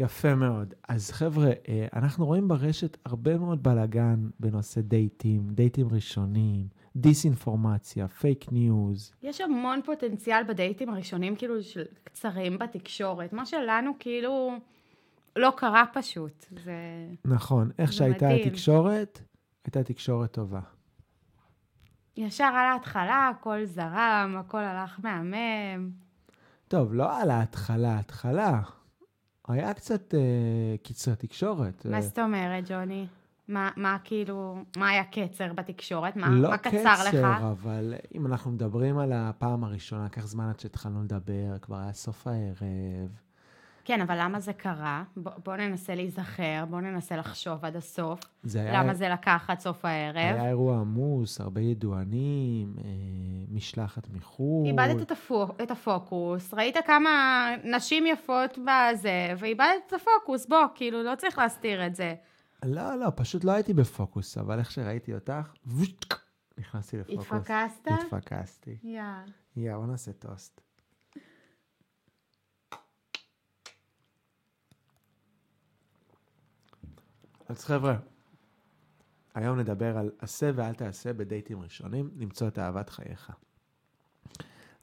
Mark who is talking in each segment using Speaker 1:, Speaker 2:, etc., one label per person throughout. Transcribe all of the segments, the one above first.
Speaker 1: יפה מאוד. אז חבר'ה, אה, אנחנו רואים ברשת הרבה מאוד בלאגן בנושא דייטים, דייטים ראשונים, דיסאינפורמציה, פייק ניוז.
Speaker 2: יש המון פוטנציאל בדייטים הראשונים, כאילו, של קצרים בתקשורת, מה שלנו כאילו לא קרה פשוט. זה...
Speaker 1: נכון, איך
Speaker 2: זה
Speaker 1: שהייתה
Speaker 2: מדהים. התקשורת,
Speaker 1: התקשורת, הייתה תקשורת טובה.
Speaker 2: ישר על ההתחלה, הכל זרם, הכל הלך מהמם.
Speaker 1: טוב, לא על ההתחלה, ההתחלה. היה קצת אה, קצרי תקשורת.
Speaker 2: מה
Speaker 1: אה,
Speaker 2: זאת אומרת, ג'וני? מה, מה כאילו, מה היה קצר בתקשורת? מה,
Speaker 1: לא
Speaker 2: מה קצר לך?
Speaker 1: קצר, אבל אם אנחנו מדברים על הפעם הראשונה, לקח זמן עד שהתחלנו לדבר, כבר היה סוף הערב.
Speaker 2: כן, אבל למה זה קרה? בוא, בוא ננסה להיזכר, בוא ננסה לחשוב עד הסוף.
Speaker 1: זה היה,
Speaker 2: למה זה לקח עד סוף הערב?
Speaker 1: היה אירוע עמוס, הרבה ידוענים, אה, משלחת מחו"ל.
Speaker 2: איבדת את, הפו, את הפוקוס, ראית כמה נשים יפות בזה, ואיבדת את הפוקוס, בוא, כאילו, לא צריך להסתיר את זה.
Speaker 1: לא, לא, פשוט לא הייתי בפוקוס, אבל איך שראיתי אותך, וושק, נכנסתי לפוקוס.
Speaker 2: התפקסת?
Speaker 1: התפקסתי.
Speaker 2: יאללה.
Speaker 1: יא, בוא נעשה טוסט. אז חבר'ה, היום נדבר על עשה ואל תעשה בדייטים ראשונים, למצוא את אהבת חייך.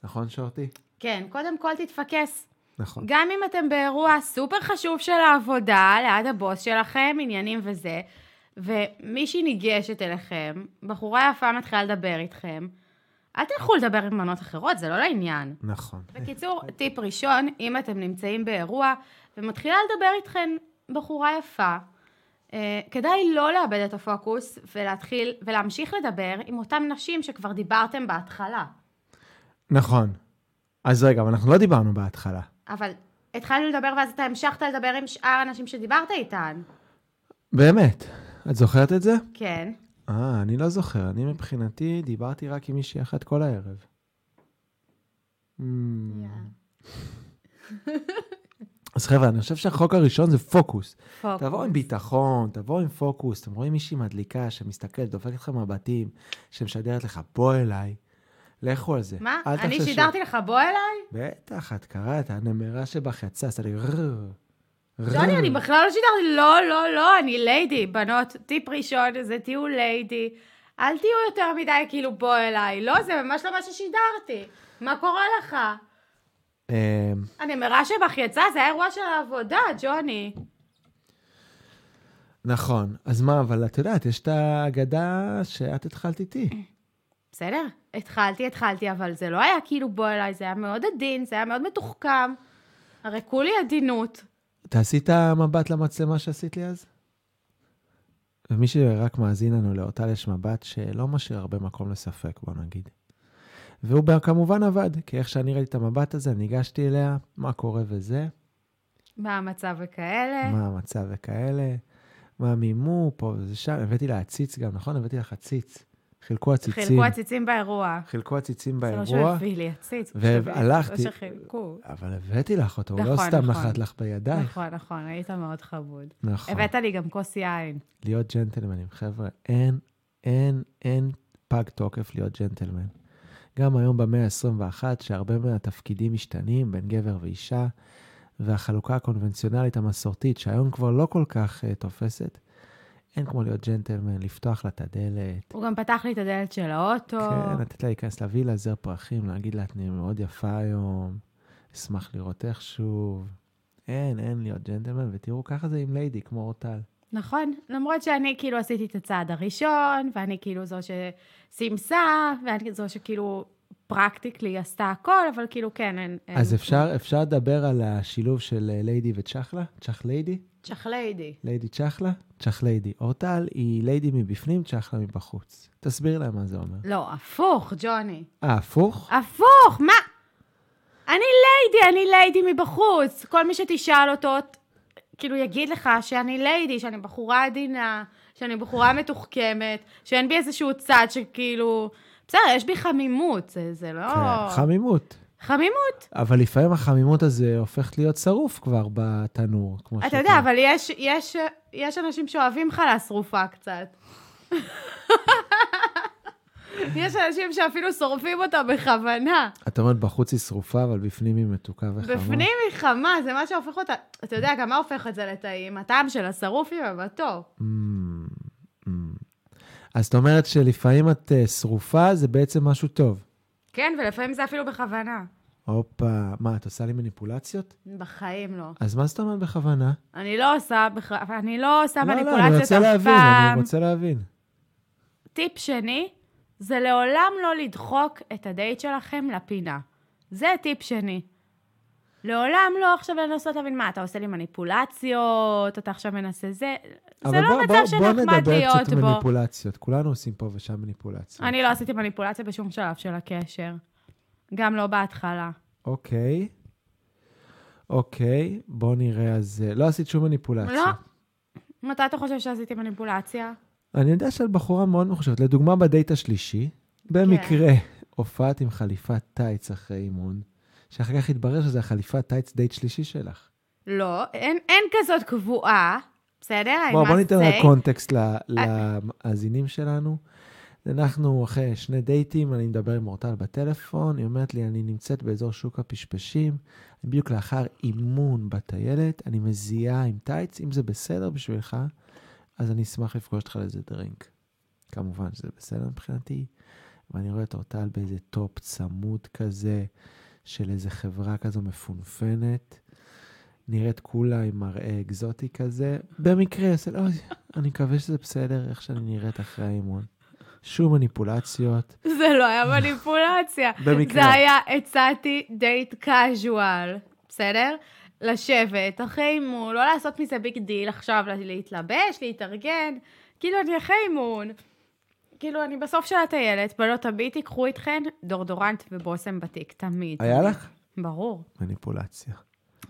Speaker 1: נכון, שורטי?
Speaker 2: כן, קודם כל תתפקס.
Speaker 1: נכון.
Speaker 2: גם אם אתם באירוע סופר חשוב של העבודה, ליד הבוס שלכם, עניינים וזה, ומישהי ניגשת אליכם, בחורה יפה מתחילה לדבר איתכם, אל תלכו לדבר עם בנות אחרות, זה לא לעניין.
Speaker 1: נכון.
Speaker 2: בקיצור, טיפ ראשון, אם אתם נמצאים באירוע ומתחילה לדבר איתכן בחורה יפה, אה, כדאי לא לאבד את הפוקוס ולהתחיל ולהמשיך לדבר עם אותן נשים שכבר דיברתם בהתחלה.
Speaker 1: נכון. אז רגע, אבל אנחנו לא דיברנו בהתחלה.
Speaker 2: אבל התחלנו לדבר ואז אתה המשכת לדבר עם שאר הנשים שדיברת איתן.
Speaker 1: באמת. את זוכרת את זה?
Speaker 2: כן.
Speaker 1: אה, אני לא זוכר. אני מבחינתי דיברתי רק עם מישהי אחת כל הערב. אמ, אז חבר'ה, אני חושב שהחוק הראשון זה פוקוס.
Speaker 2: פוקוס.
Speaker 1: תבואו עם ביטחון, תבואו עם פוקוס. אתם רואים מישהי מדליקה שמסתכלת, דופקת לך מבטים, שמשדרת לך, בוא אליי. לכו על זה.
Speaker 2: מה?
Speaker 1: אל
Speaker 2: אני
Speaker 1: תחששו.
Speaker 2: שידרתי לך בוא אליי?
Speaker 1: בטח, את קראת, הנמרה שבך יצאה, עשתה לי רר.
Speaker 2: ג'וני,
Speaker 1: רר.
Speaker 2: אני בכלל לא שידרתי, לא, לא, לא, אני ליידי. בנות, טיפ ראשון, זה תהיו ליידי. אל תהיו יותר מדי כאילו בוא אליי. לא, זה ממש לא מה ששידרתי. מה קורה לך?
Speaker 1: אמ,
Speaker 2: הנמרה שבך יצאה, זה האירוע של העבודה, ג'וני.
Speaker 1: נכון. אז מה, אבל את יודעת, יש את האגדה שאת התחלת איתי.
Speaker 2: בסדר? התחלתי, התחלתי, אבל זה לא היה כאילו בוא אליי, זה היה מאוד עדין, זה היה מאוד מתוחכם. הרי כולי עדינות.
Speaker 1: תעשי את המבט למצלמה שעשית לי אז. ומי שרק מאזין לנו לאורטל יש מבט שלא משאיר הרבה מקום לספק, בוא נגיד. והוא ב- כמובן עבד, כי איך שאני ראיתי את המבט הזה, ניגשתי אליה, מה קורה וזה,
Speaker 2: מה המצב וכאלה?
Speaker 1: מה המצב וכאלה, מה מימו, פה וזה שם, הבאתי לה עציץ גם, נכון? הבאתי לך עציץ. חילקו עציצים.
Speaker 2: חילקו עציצים באירוע.
Speaker 1: חילקו עציצים
Speaker 2: זה לא
Speaker 1: באירוע,
Speaker 2: שהביא לי עציץ. הוא
Speaker 1: והלכתי-
Speaker 2: שהביא לי- לא שחילקו.
Speaker 1: אבל הבאתי לך אותו, הוא לא
Speaker 2: נכון,
Speaker 1: סתם
Speaker 2: נכון.
Speaker 1: נחת לך בידייך.
Speaker 2: נכון, נכון, היית מאוד חבוד.
Speaker 1: נכון.
Speaker 2: הבאת לי גם כוס יין.
Speaker 1: להיות ג'נטלמנים, חבר'ה, אין, אין, אין פג תוקף להיות ג'נטלמן. גם היום במאה ה-21, שהרבה מהתפקידים משתנים בין גבר ואישה, והחלוקה הקונבנציונלית המסורתית, שהיום כבר לא כל כך uh, תופסת, אין כמו להיות ג'נטלמן, לפתוח לה את הדלת.
Speaker 2: הוא גם פתח לי את הדלת של האוטו.
Speaker 1: כן, לתת לה להיכנס, להביא לה זר פרחים, להגיד לה, את נהיית מאוד יפה היום, אשמח לראות איך שוב. אין, אין להיות ג'נטלמן, ותראו, ככה זה עם ליידי, כמו אורטל.
Speaker 2: נכון, למרות שאני כאילו עשיתי את הצעד הראשון, ואני כאילו זו שסימסה, ואני זו שכאילו פרקטיקלי עשתה הכל, אבל כאילו כן, אין... אין-
Speaker 1: אז אפשר, אפשר לדבר על השילוב של אה, ליידי וצ'חלה? צ'ח ליידי?
Speaker 2: צ'חליידי.
Speaker 1: ליידי צ'חלה? צ'ח ליידי. אורטל היא ליידי מבפנים, צ'חלה מבחוץ. תסביר להם מה זה אומר.
Speaker 2: לא, הפוך, ג'וני.
Speaker 1: אה, הפוך?
Speaker 2: הפוך, מה? אני ליידי, אני ליידי מבחוץ. כל מי שתשאל אותו, ת- כאילו יגיד לך שאני ליידי, שאני בחורה עדינה, שאני בחורה מתוחכמת, שאין בי איזשהו צד שכאילו... בסדר, יש בי חמימות, זה, זה לא...
Speaker 1: כן, חמימות.
Speaker 2: חמימות.
Speaker 1: אבל לפעמים החמימות הזה הופכת להיות שרוף כבר בתנור, כמו
Speaker 2: אתה יודע, אבל יש, יש, יש אנשים שאוהבים חלה שרופה קצת. יש אנשים שאפילו שורפים אותה בכוונה.
Speaker 1: את אומרת, בחוץ היא שרופה, אבל בפנים היא מתוקה וחמה.
Speaker 2: בפנים היא חמה, זה מה שהופך אותה... אתה יודע, גם מה הופך את זה לטעים? הטעם של השרוף עם המתוק.
Speaker 1: אמ, אמ. אז זאת אומרת שלפעמים את אה, שרופה, זה בעצם משהו טוב.
Speaker 2: כן, ולפעמים זה אפילו בכוונה.
Speaker 1: הופה, מה, את עושה לי מניפולציות?
Speaker 2: בחיים לא.
Speaker 1: אז מה זאת אומרת בכוונה?
Speaker 2: אני לא עושה, בכ... אני לא עושה
Speaker 1: לא, לא, אני
Speaker 2: מניפולציות
Speaker 1: רוצה
Speaker 2: אף
Speaker 1: להבין,
Speaker 2: פעם.
Speaker 1: אני רוצה להבין.
Speaker 2: טיפ שני, זה לעולם לא לדחוק את הדייט שלכם לפינה. זה טיפ שני. לעולם לא עכשיו לנסות להבין מה, אתה עושה לי מניפולציות, אתה עכשיו מנסה זה. זה
Speaker 1: אבל
Speaker 2: לא
Speaker 1: בוא-
Speaker 2: מצב
Speaker 1: בוא- בוא
Speaker 2: שנחמד
Speaker 1: נדבר
Speaker 2: להיות
Speaker 1: קצת
Speaker 2: בו.
Speaker 1: מניפולציות. כולנו עושים פה ושם מניפולציות.
Speaker 2: אני לא עשיתי מניפולציה בשום שלב של הקשר. גם לא בהתחלה.
Speaker 1: אוקיי. אוקיי, בוא נראה אז... אה, לא עשית שום מניפולציה.
Speaker 2: לא. מתי אתה חושב שעשיתי מניפולציה?
Speaker 1: אני יודע שאת בחורה מאוד מחושבת. לדוגמה, בדייט השלישי, במקרה הופעת עם חליפת טייץ אחרי אימון, שאחר כך התברר שזה החליפת טייץ דייט שלישי שלך.
Speaker 2: לא, אין, אין כזאת קבועה, בסדר? I
Speaker 1: בוא, בוא
Speaker 2: must
Speaker 1: ניתן
Speaker 2: say.
Speaker 1: לה קונטקסט ל- למאזינים שלנו. אנחנו אחרי שני דייטים, אני מדבר עם אורטל בטלפון, היא אומרת לי, אני נמצאת באזור שוק הפשפשים, בדיוק לאחר אימון בטיילת, אני מזיעה עם טייץ, אם זה בסדר בשבילך, אז אני אשמח לפגוש אותך לאיזה דרינק. כמובן שזה בסדר מבחינתי, ואני רואה את אורטל באיזה טופ צמוד כזה, של איזה חברה כזו מפונפנת. נראית כולה עם מראה אקזוטי כזה. במקרה, עושה, לא, אני מקווה שזה בסדר איך שאני נראית אחרי האימון. שום מניפולציות.
Speaker 2: זה לא היה מניפולציה.
Speaker 1: במקרה.
Speaker 2: זה היה, הצעתי דייט קאז'ואל, בסדר? לשבת, אחרי אימון, לא לעשות מזה ביג דיל עכשיו, להתלבש, להתארגן. כאילו, אני אחרי אימון. כאילו, אני בסוף של הטיילת, בנות הביט, תיקחו איתכן דורדורנט ובושם בתיק, תמיד.
Speaker 1: היה לך?
Speaker 2: ברור.
Speaker 1: מניפולציה.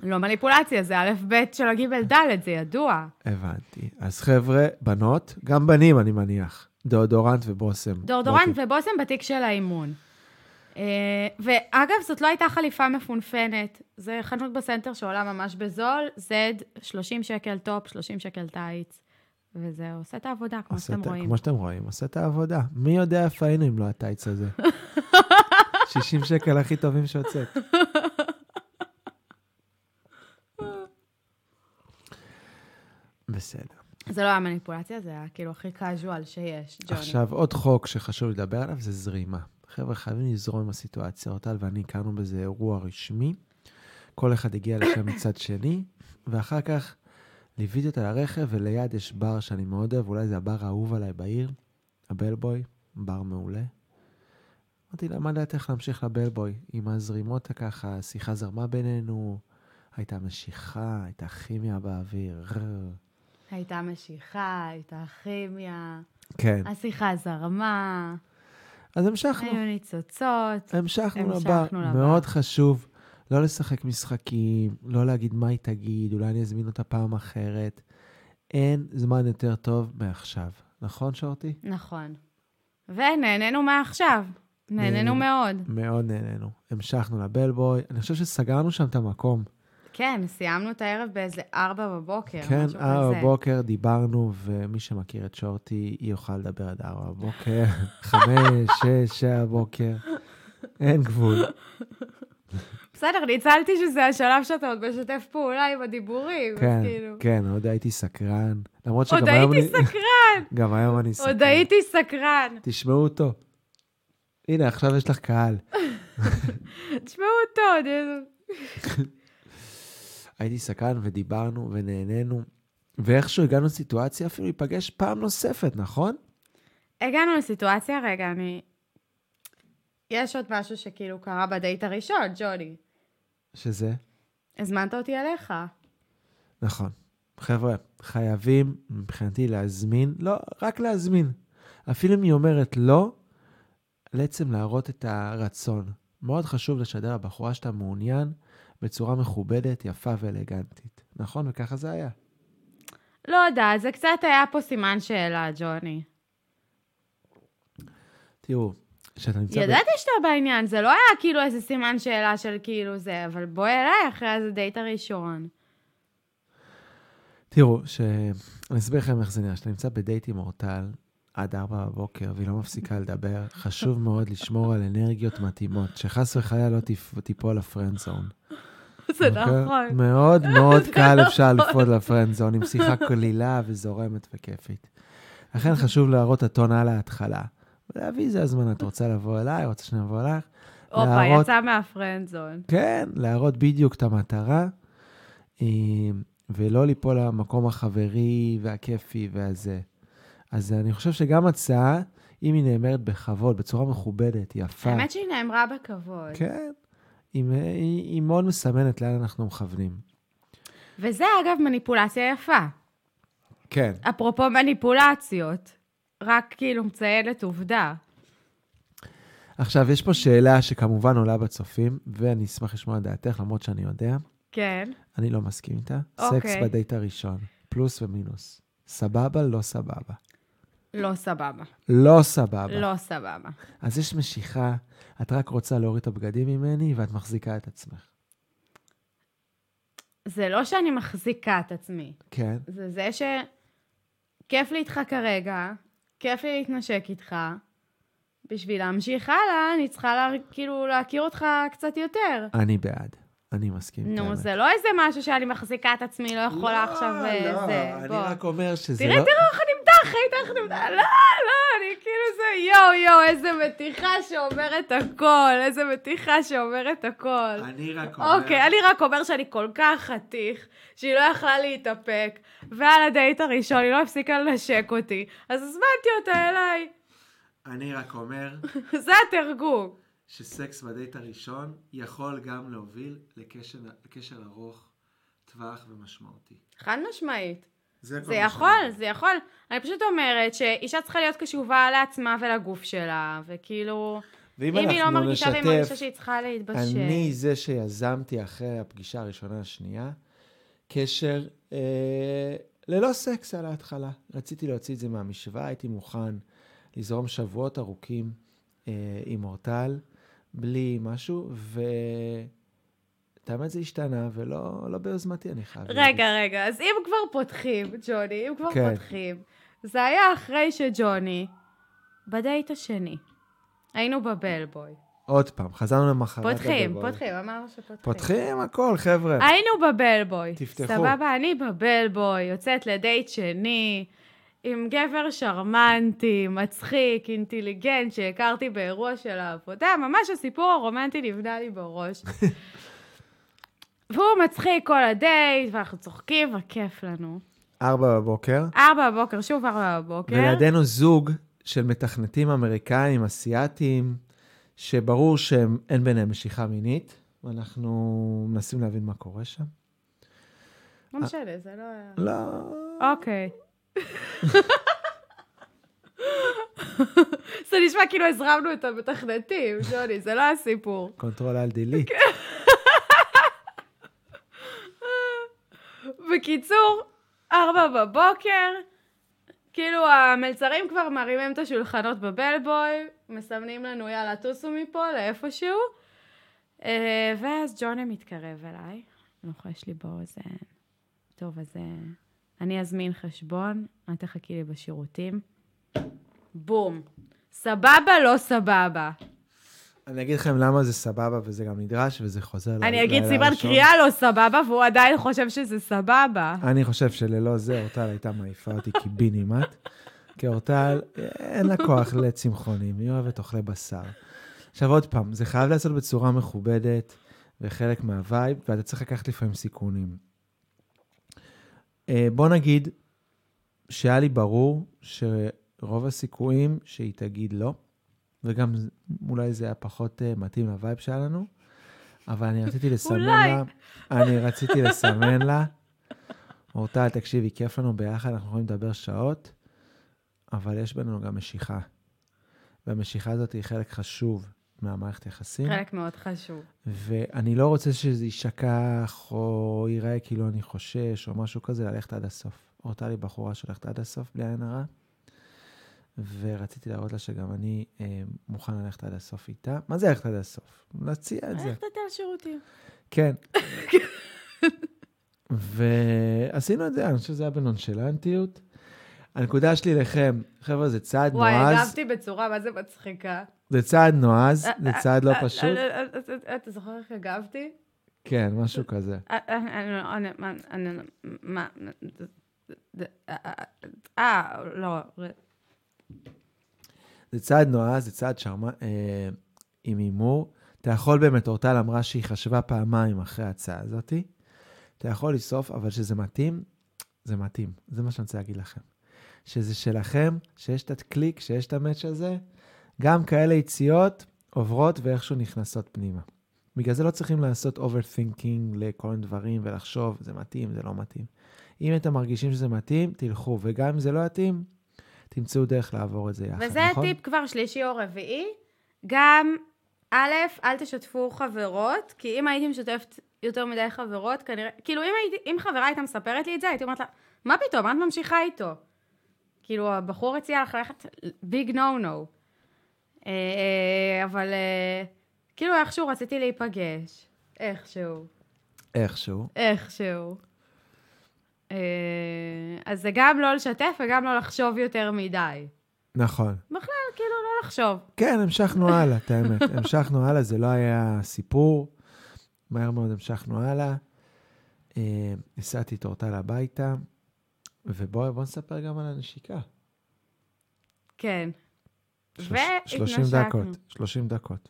Speaker 2: לא מניפולציה, זה א' ב' של הגימל ד', זה ידוע.
Speaker 1: הבנתי. אז חבר'ה, בנות, גם בנים, אני מניח. דאודורנט ובושם.
Speaker 2: דורדורנט
Speaker 1: אוקיי.
Speaker 2: ובושם בתיק של האימון. אה, ואגב, זאת לא הייתה חליפה מפונפנת. זה חנות בסנטר שעולה ממש בזול, זד, 30 שקל טופ, 30 שקל טייץ, וזה עושה את העבודה, כמו
Speaker 1: עושה
Speaker 2: שאתם
Speaker 1: את ה-
Speaker 2: רואים.
Speaker 1: כמו שאתם רואים, עושה את העבודה. מי יודע איפה היינו אם לא הטייץ הזה. 60 שקל הכי טובים שהוצאת. בסדר.
Speaker 2: זה לא היה מניפולציה, זה היה כאילו הכי קאז'ואל שיש, ג'וני.
Speaker 1: עכשיו, עוד חוק שחשוב לדבר עליו זה זרימה. חבר'ה, חייבים לזרום עם הסיטואציה. אורטל ואני הכרנו בזה אירוע רשמי. כל אחד הגיע לשם מצד שני, ואחר כך ליוויתי אותה לרכב, וליד יש בר שאני מאוד אוהב, אולי זה הבר האהוב עליי בעיר, הבלבוי, בר מעולה. אמרתי לה, מה דעתך להמשיך לבלבוי? עם הזרימות ככה, השיחה זרמה בינינו, הייתה משיכה, הייתה כימיה באוויר.
Speaker 2: הייתה משיכה, הייתה כימיה,
Speaker 1: כן.
Speaker 2: השיחה זרמה,
Speaker 1: אז המשכנו.
Speaker 2: היו ניצוצות.
Speaker 1: המשכנו לבר.
Speaker 2: המשכנו לבר.
Speaker 1: מאוד חשוב לא לשחק משחקים, לא להגיד מה היא תגיד, אולי אני אזמין אותה פעם אחרת. אין זמן יותר טוב מעכשיו. נכון, שורטי?
Speaker 2: נכון. ונהנינו מעכשיו.
Speaker 1: נהנינו.
Speaker 2: נהנינו מאוד.
Speaker 1: מאוד נהנינו. המשכנו לבלבוי. אני חושב שסגרנו שם את המקום.
Speaker 2: כן, סיימנו את הערב באיזה ארבע בבוקר,
Speaker 1: כן,
Speaker 2: משהו
Speaker 1: ארבע
Speaker 2: כזה.
Speaker 1: בבוקר דיברנו, ומי שמכיר את שורטי, היא יכולה לדבר עד ארבע בבוקר, חמש, שש, שבע בבוקר. אין גבול.
Speaker 2: בסדר, ניצלתי שזה השלב שאתה עוד משתף פעולה עם הדיבורים,
Speaker 1: כן,
Speaker 2: אז כאילו.
Speaker 1: כן, עוד הייתי סקרן. למרות שגם
Speaker 2: עוד
Speaker 1: היום
Speaker 2: הייתי
Speaker 1: אני...
Speaker 2: סקרן,
Speaker 1: גם היום אני סקרן.
Speaker 2: עוד הייתי סקרן.
Speaker 1: תשמעו אותו. הנה, עכשיו יש לך קהל.
Speaker 2: תשמעו אותו, עוד איזה-
Speaker 1: הייתי סקרן ודיברנו ונהנינו, ואיכשהו הגענו לסיטואציה אפילו להיפגש פעם נוספת, נכון?
Speaker 2: הגענו לסיטואציה, רגע, אני... יש עוד משהו שכאילו קרה בדייט הראשון, ג'וני.
Speaker 1: שזה?
Speaker 2: הזמנת אותי אליך.
Speaker 1: נכון. חבר'ה, חייבים מבחינתי להזמין, לא, רק להזמין. אפילו אם היא אומרת לא, לעצם להראות את הרצון. מאוד חשוב לשדר לבחורה שאתה מעוניין בצורה מכובדת, יפה ואלגנטית. נכון? וככה זה היה.
Speaker 2: לא יודעת, זה קצת היה פה סימן שאלה, ג'וני.
Speaker 1: תראו, כשאתה נמצא... ב-
Speaker 2: ידעתי שאתה בעניין, זה לא היה כאילו איזה סימן שאלה של כאילו זה, אבל בוא אליי אחרי הדייט הראשון.
Speaker 1: תראו, ש... אני אסביר לכם איך זה נראה. כשאתה נמצא בדייט עם אורטל, עד ארבע בבוקר, והיא לא מפסיקה לדבר, חשוב מאוד לשמור על אנרגיות מתאימות, שחס וחלילה לא תפ- תיפול לפרנד זון.
Speaker 2: זה
Speaker 1: אוקיי?
Speaker 2: נכון.
Speaker 1: מאוד מאוד
Speaker 2: זה
Speaker 1: קל אפשר
Speaker 2: נכון.
Speaker 1: לפעול לפרנד זון, עם שיחה קלילה וזורמת וכיפית. לכן חשוב להראות את הטון על ההתחלה. ולהביא איזה הזמנה, את רוצה לבוא אליי, רוצה שנבוא אלייך?
Speaker 2: הופה,
Speaker 1: להראות-
Speaker 2: יצא מהפרנד זון.
Speaker 1: כן, להראות בדיוק את המטרה, אה, ולא ליפול למקום החברי והכיפי והזה. אז אני חושב שגם הצעה, אם היא נאמרת בכבוד, בצורה מכובדת, יפה,
Speaker 2: האמת שהיא נאמרה בכבוד.
Speaker 1: כן, היא, היא, היא מאוד מסמנת לאן אנחנו מכוונים.
Speaker 2: וזה, אגב, מניפולציה יפה.
Speaker 1: כן,
Speaker 2: אפרופו מניפולציות, רק כאילו מציינת עובדה.
Speaker 1: עכשיו, יש פה שאלה שכמובן עולה בצופים, ואני אשמח לשמוע את דעתך, למרות שאני יודע.
Speaker 2: כן.
Speaker 1: אני לא מסכים איתה.
Speaker 2: אוקיי.
Speaker 1: סקס בדייט הראשון, פלוס ומינוס. סבבה, לא סבבה.
Speaker 2: לא סבבה.
Speaker 1: לא סבבה.
Speaker 2: לא סבבה.
Speaker 1: אז יש משיכה, את רק רוצה להוריד את הבגדים ממני, ואת מחזיקה את עצמך.
Speaker 2: זה לא שאני מחזיקה את עצמי.
Speaker 1: כן,
Speaker 2: זה זה שכיף לי איתך כרגע, כיף לי להתנשק איתך. בשביל להמשיך הלאה, אני צריכה לה, כאילו להכיר אותך קצת יותר.
Speaker 1: אני בעד. אני מסכים.
Speaker 2: נו,
Speaker 1: באמת.
Speaker 2: זה לא איזה משהו שאני מחזיקה את עצמי, לא יכולה עכשיו אה,
Speaker 1: לא,
Speaker 2: זה.
Speaker 1: אני
Speaker 2: בוא.
Speaker 1: רק אומר שזה
Speaker 2: תראה,
Speaker 1: לא...
Speaker 2: תראה איך אני מתח, ראית איך אני מתח, לא, לא, אני כאילו זה יואו, יואו, איזה מתיחה שאומרת הכל, איזה מתיחה שאומרת הכל.
Speaker 1: אני רק אומר...
Speaker 2: אוקיי, אני רק אומר שאני כל כך חתיך, שהיא לא יכלה להתאפק, ועל הדייט הראשון היא לא הפסיקה לנשק אותי, אז הזמנתי אותה אליי.
Speaker 1: אני רק אומר
Speaker 2: זה התרגום.
Speaker 1: שסקס בדייט הראשון יכול גם להוביל לקשר, לקשר ארוך, טווח ומשמעותי.
Speaker 2: חד משמעית.
Speaker 1: זה,
Speaker 2: זה יכול, זה יכול. אני פשוט אומרת שאישה צריכה להיות קשובה לעצמה ולגוף שלה, וכאילו...
Speaker 1: ואם
Speaker 2: אם היא לא
Speaker 1: אנחנו
Speaker 2: מרגישה והיא
Speaker 1: נשתף-
Speaker 2: מרגישה שהיא צריכה להתבשל.
Speaker 1: אני זה שיזמתי אחרי הפגישה הראשונה השנייה, קשר אה, ללא סקס על ההתחלה. רציתי להוציא את זה מהמשוואה, הייתי מוכן לזרום שבועות ארוכים אה, עם אורטל, בלי משהו, ו... את האמת זה השתנה, ולא לא ביוזמתי, אני חייב
Speaker 2: רגע, רגע, אז אם כבר פותחים, ג'וני, אם כבר
Speaker 1: כן.
Speaker 2: פותחים, זה היה אחרי שג'וני, בדייט השני, היינו בבלבוי.
Speaker 1: עוד פעם, חזרנו למחרת.
Speaker 2: פותחים,
Speaker 1: הגדול.
Speaker 2: פותחים, אה- אמרנו שפותחים.
Speaker 1: פותחים הכל, חבר'ה.
Speaker 2: היינו בבלבוי.
Speaker 1: תפתחו.
Speaker 2: סבבה, אני בבלבוי, יוצאת לדייט שני, עם גבר שרמנטי, מצחיק, אינטליגנט, שהכרתי באירוע של העבודה, ממש הסיפור הרומנטי נבנה לי בראש. והוא מצחיק כל הדייט, ואנחנו צוחקים, וכיף לנו.
Speaker 1: ארבע בבוקר.
Speaker 2: ארבע בבוקר, שוב ארבע בבוקר.
Speaker 1: ולידינו זוג של מתכנתים אמריקאים, אסיאתים, שברור שאין ביניהם משיכה מינית, ואנחנו מנסים להבין מה קורה שם.
Speaker 2: לא משנה, זה לא... היה-
Speaker 1: לא...
Speaker 2: אוקיי. זה נשמע כאילו הזרמנו את המתכנתים, ג'וני, זה לא הסיפור.
Speaker 1: קונטרול על דילית.
Speaker 2: כן. בקיצור, ארבע בבוקר, כאילו המלצרים כבר מרימים את השולחנות בבלבוי, מסמנים לנו יאללה טוסו מפה לאיפשהו, אה, ואז ג'וני מתקרב אליי, לוחש לי באוזן, טוב אז אה, אני אזמין חשבון, את תחכי לי בשירותים. בום. סבבה, לא סבבה.
Speaker 1: אני אגיד לכם למה זה סבבה וזה גם נדרש, וזה חוזר ל-
Speaker 2: אני אגיד
Speaker 1: לילה
Speaker 2: סימן
Speaker 1: הראשון.
Speaker 2: קריאה לא סבבה, והוא עדיין חושב שזה סבבה.
Speaker 1: אני חושב שללא זה, אורטל הייתה מעיפה אותי קיבינימט, כי אורטל, אין לה כוח לצמחונים, היא אוהבת אוכלי בשר. עכשיו עוד פעם, זה חייב לעשות בצורה מכובדת, וחלק מהווייב, ואתה צריך לקחת לפעמים סיכונים. אה, בוא נגיד שהיה לי ברור שרוב הסיכויים שהיא תגיד לא, וגם ז- אולי זה היה פחות אה, מתאים לווייב שהיה לנו, אבל אני רציתי לסמן
Speaker 2: אולי.
Speaker 1: לה, אני רציתי לסמן לה, אורטל, תקשיבי, כיף לנו ביחד, אנחנו יכולים לדבר שעות, אבל יש בינינו גם משיכה. והמשיכה הזאת היא חלק חשוב מהמערכת יחסים.
Speaker 2: חלק מאוד חשוב.
Speaker 1: ואני לא רוצה שזה יישכח, או ייראה כאילו אני חושש, או משהו כזה, ללכת עד הסוף. הורתה לי בחורה שהולכת עד הסוף, בלי עין הרע, ורציתי להראות לה שגם אני אה, מוכן ללכת עד הסוף איתה. מה זה ללכת עד הסוף? להציע את זה.
Speaker 2: איך אתה שירותים?
Speaker 1: כן. ועשינו את זה, אני חושב שזה היה בנונשלנטיות. הנקודה שלי לכם, חבר'ה, זה צעד
Speaker 2: וואי,
Speaker 1: נועז,
Speaker 2: הגבתי בצורה, מה זה מצחיקה.
Speaker 1: זה צעד נועז, זה צעד לא
Speaker 2: אה, אה,
Speaker 1: פשוט.
Speaker 2: אה, אה, אה, אה, אתה זוכר איך הגבתי?
Speaker 1: כן, משהו כזה.
Speaker 2: אה, אה, אה, אה, מה, אה, מה, אה, אה, אה, אה, לא,
Speaker 1: זה צעד נועז, זה צעד שרמה, אה, עם הימור. אתה יכול באמת, אורטל אמרה שהיא חשבה פעמיים אחרי ההצעה הזאתי. אתה יכול לשרוף, אבל כשזה מתאים, זה מתאים. זה מה שאני רוצה להגיד לכם. שזה שלכם, שיש את הקליק, שיש את המאץ' הזה, גם כאלה יציאות עוברות ואיכשהו נכנסות פנימה. בגלל זה לא צריכים לעשות overthinking לכל מיני דברים ולחשוב, זה מתאים, זה לא מתאים. אם אתם מרגישים שזה מתאים, תלכו, וגם אם זה לא יתאים, תמצאו דרך לעבור את זה יחד,
Speaker 2: וזה
Speaker 1: נכון?
Speaker 2: טיפ כבר שלישי או רביעי. גם, א', אל תשתפו חברות, כי אם הייתי משתפת יותר מדי חברות, כנראה, כאילו אם, הייתי, אם חברה הייתה מספרת לי את זה, הייתי אומרת לה, מה פתאום, מה את ממשיכה איתו? כאילו, הבחור הציע לך ללכת ביג נו נו. אבל אה, כאילו איכשהו רציתי להיפגש. איכשהו.
Speaker 1: איכשהו.
Speaker 2: איכשהו. אה, אז זה גם לא לשתף וגם לא לחשוב יותר מדי.
Speaker 1: נכון.
Speaker 2: בכלל, כאילו, לא לחשוב.
Speaker 1: כן, המשכנו הלאה, את האמת. המשכנו הלאה, זה לא היה סיפור. מהר מאוד המשכנו הלאה. אה, הסעתי את אורטל הביתה, ובואו נספר גם על הנשיקה.
Speaker 2: כן.
Speaker 1: שלוש- 30
Speaker 2: והתנשקנו.
Speaker 1: דקות, 30 דקות.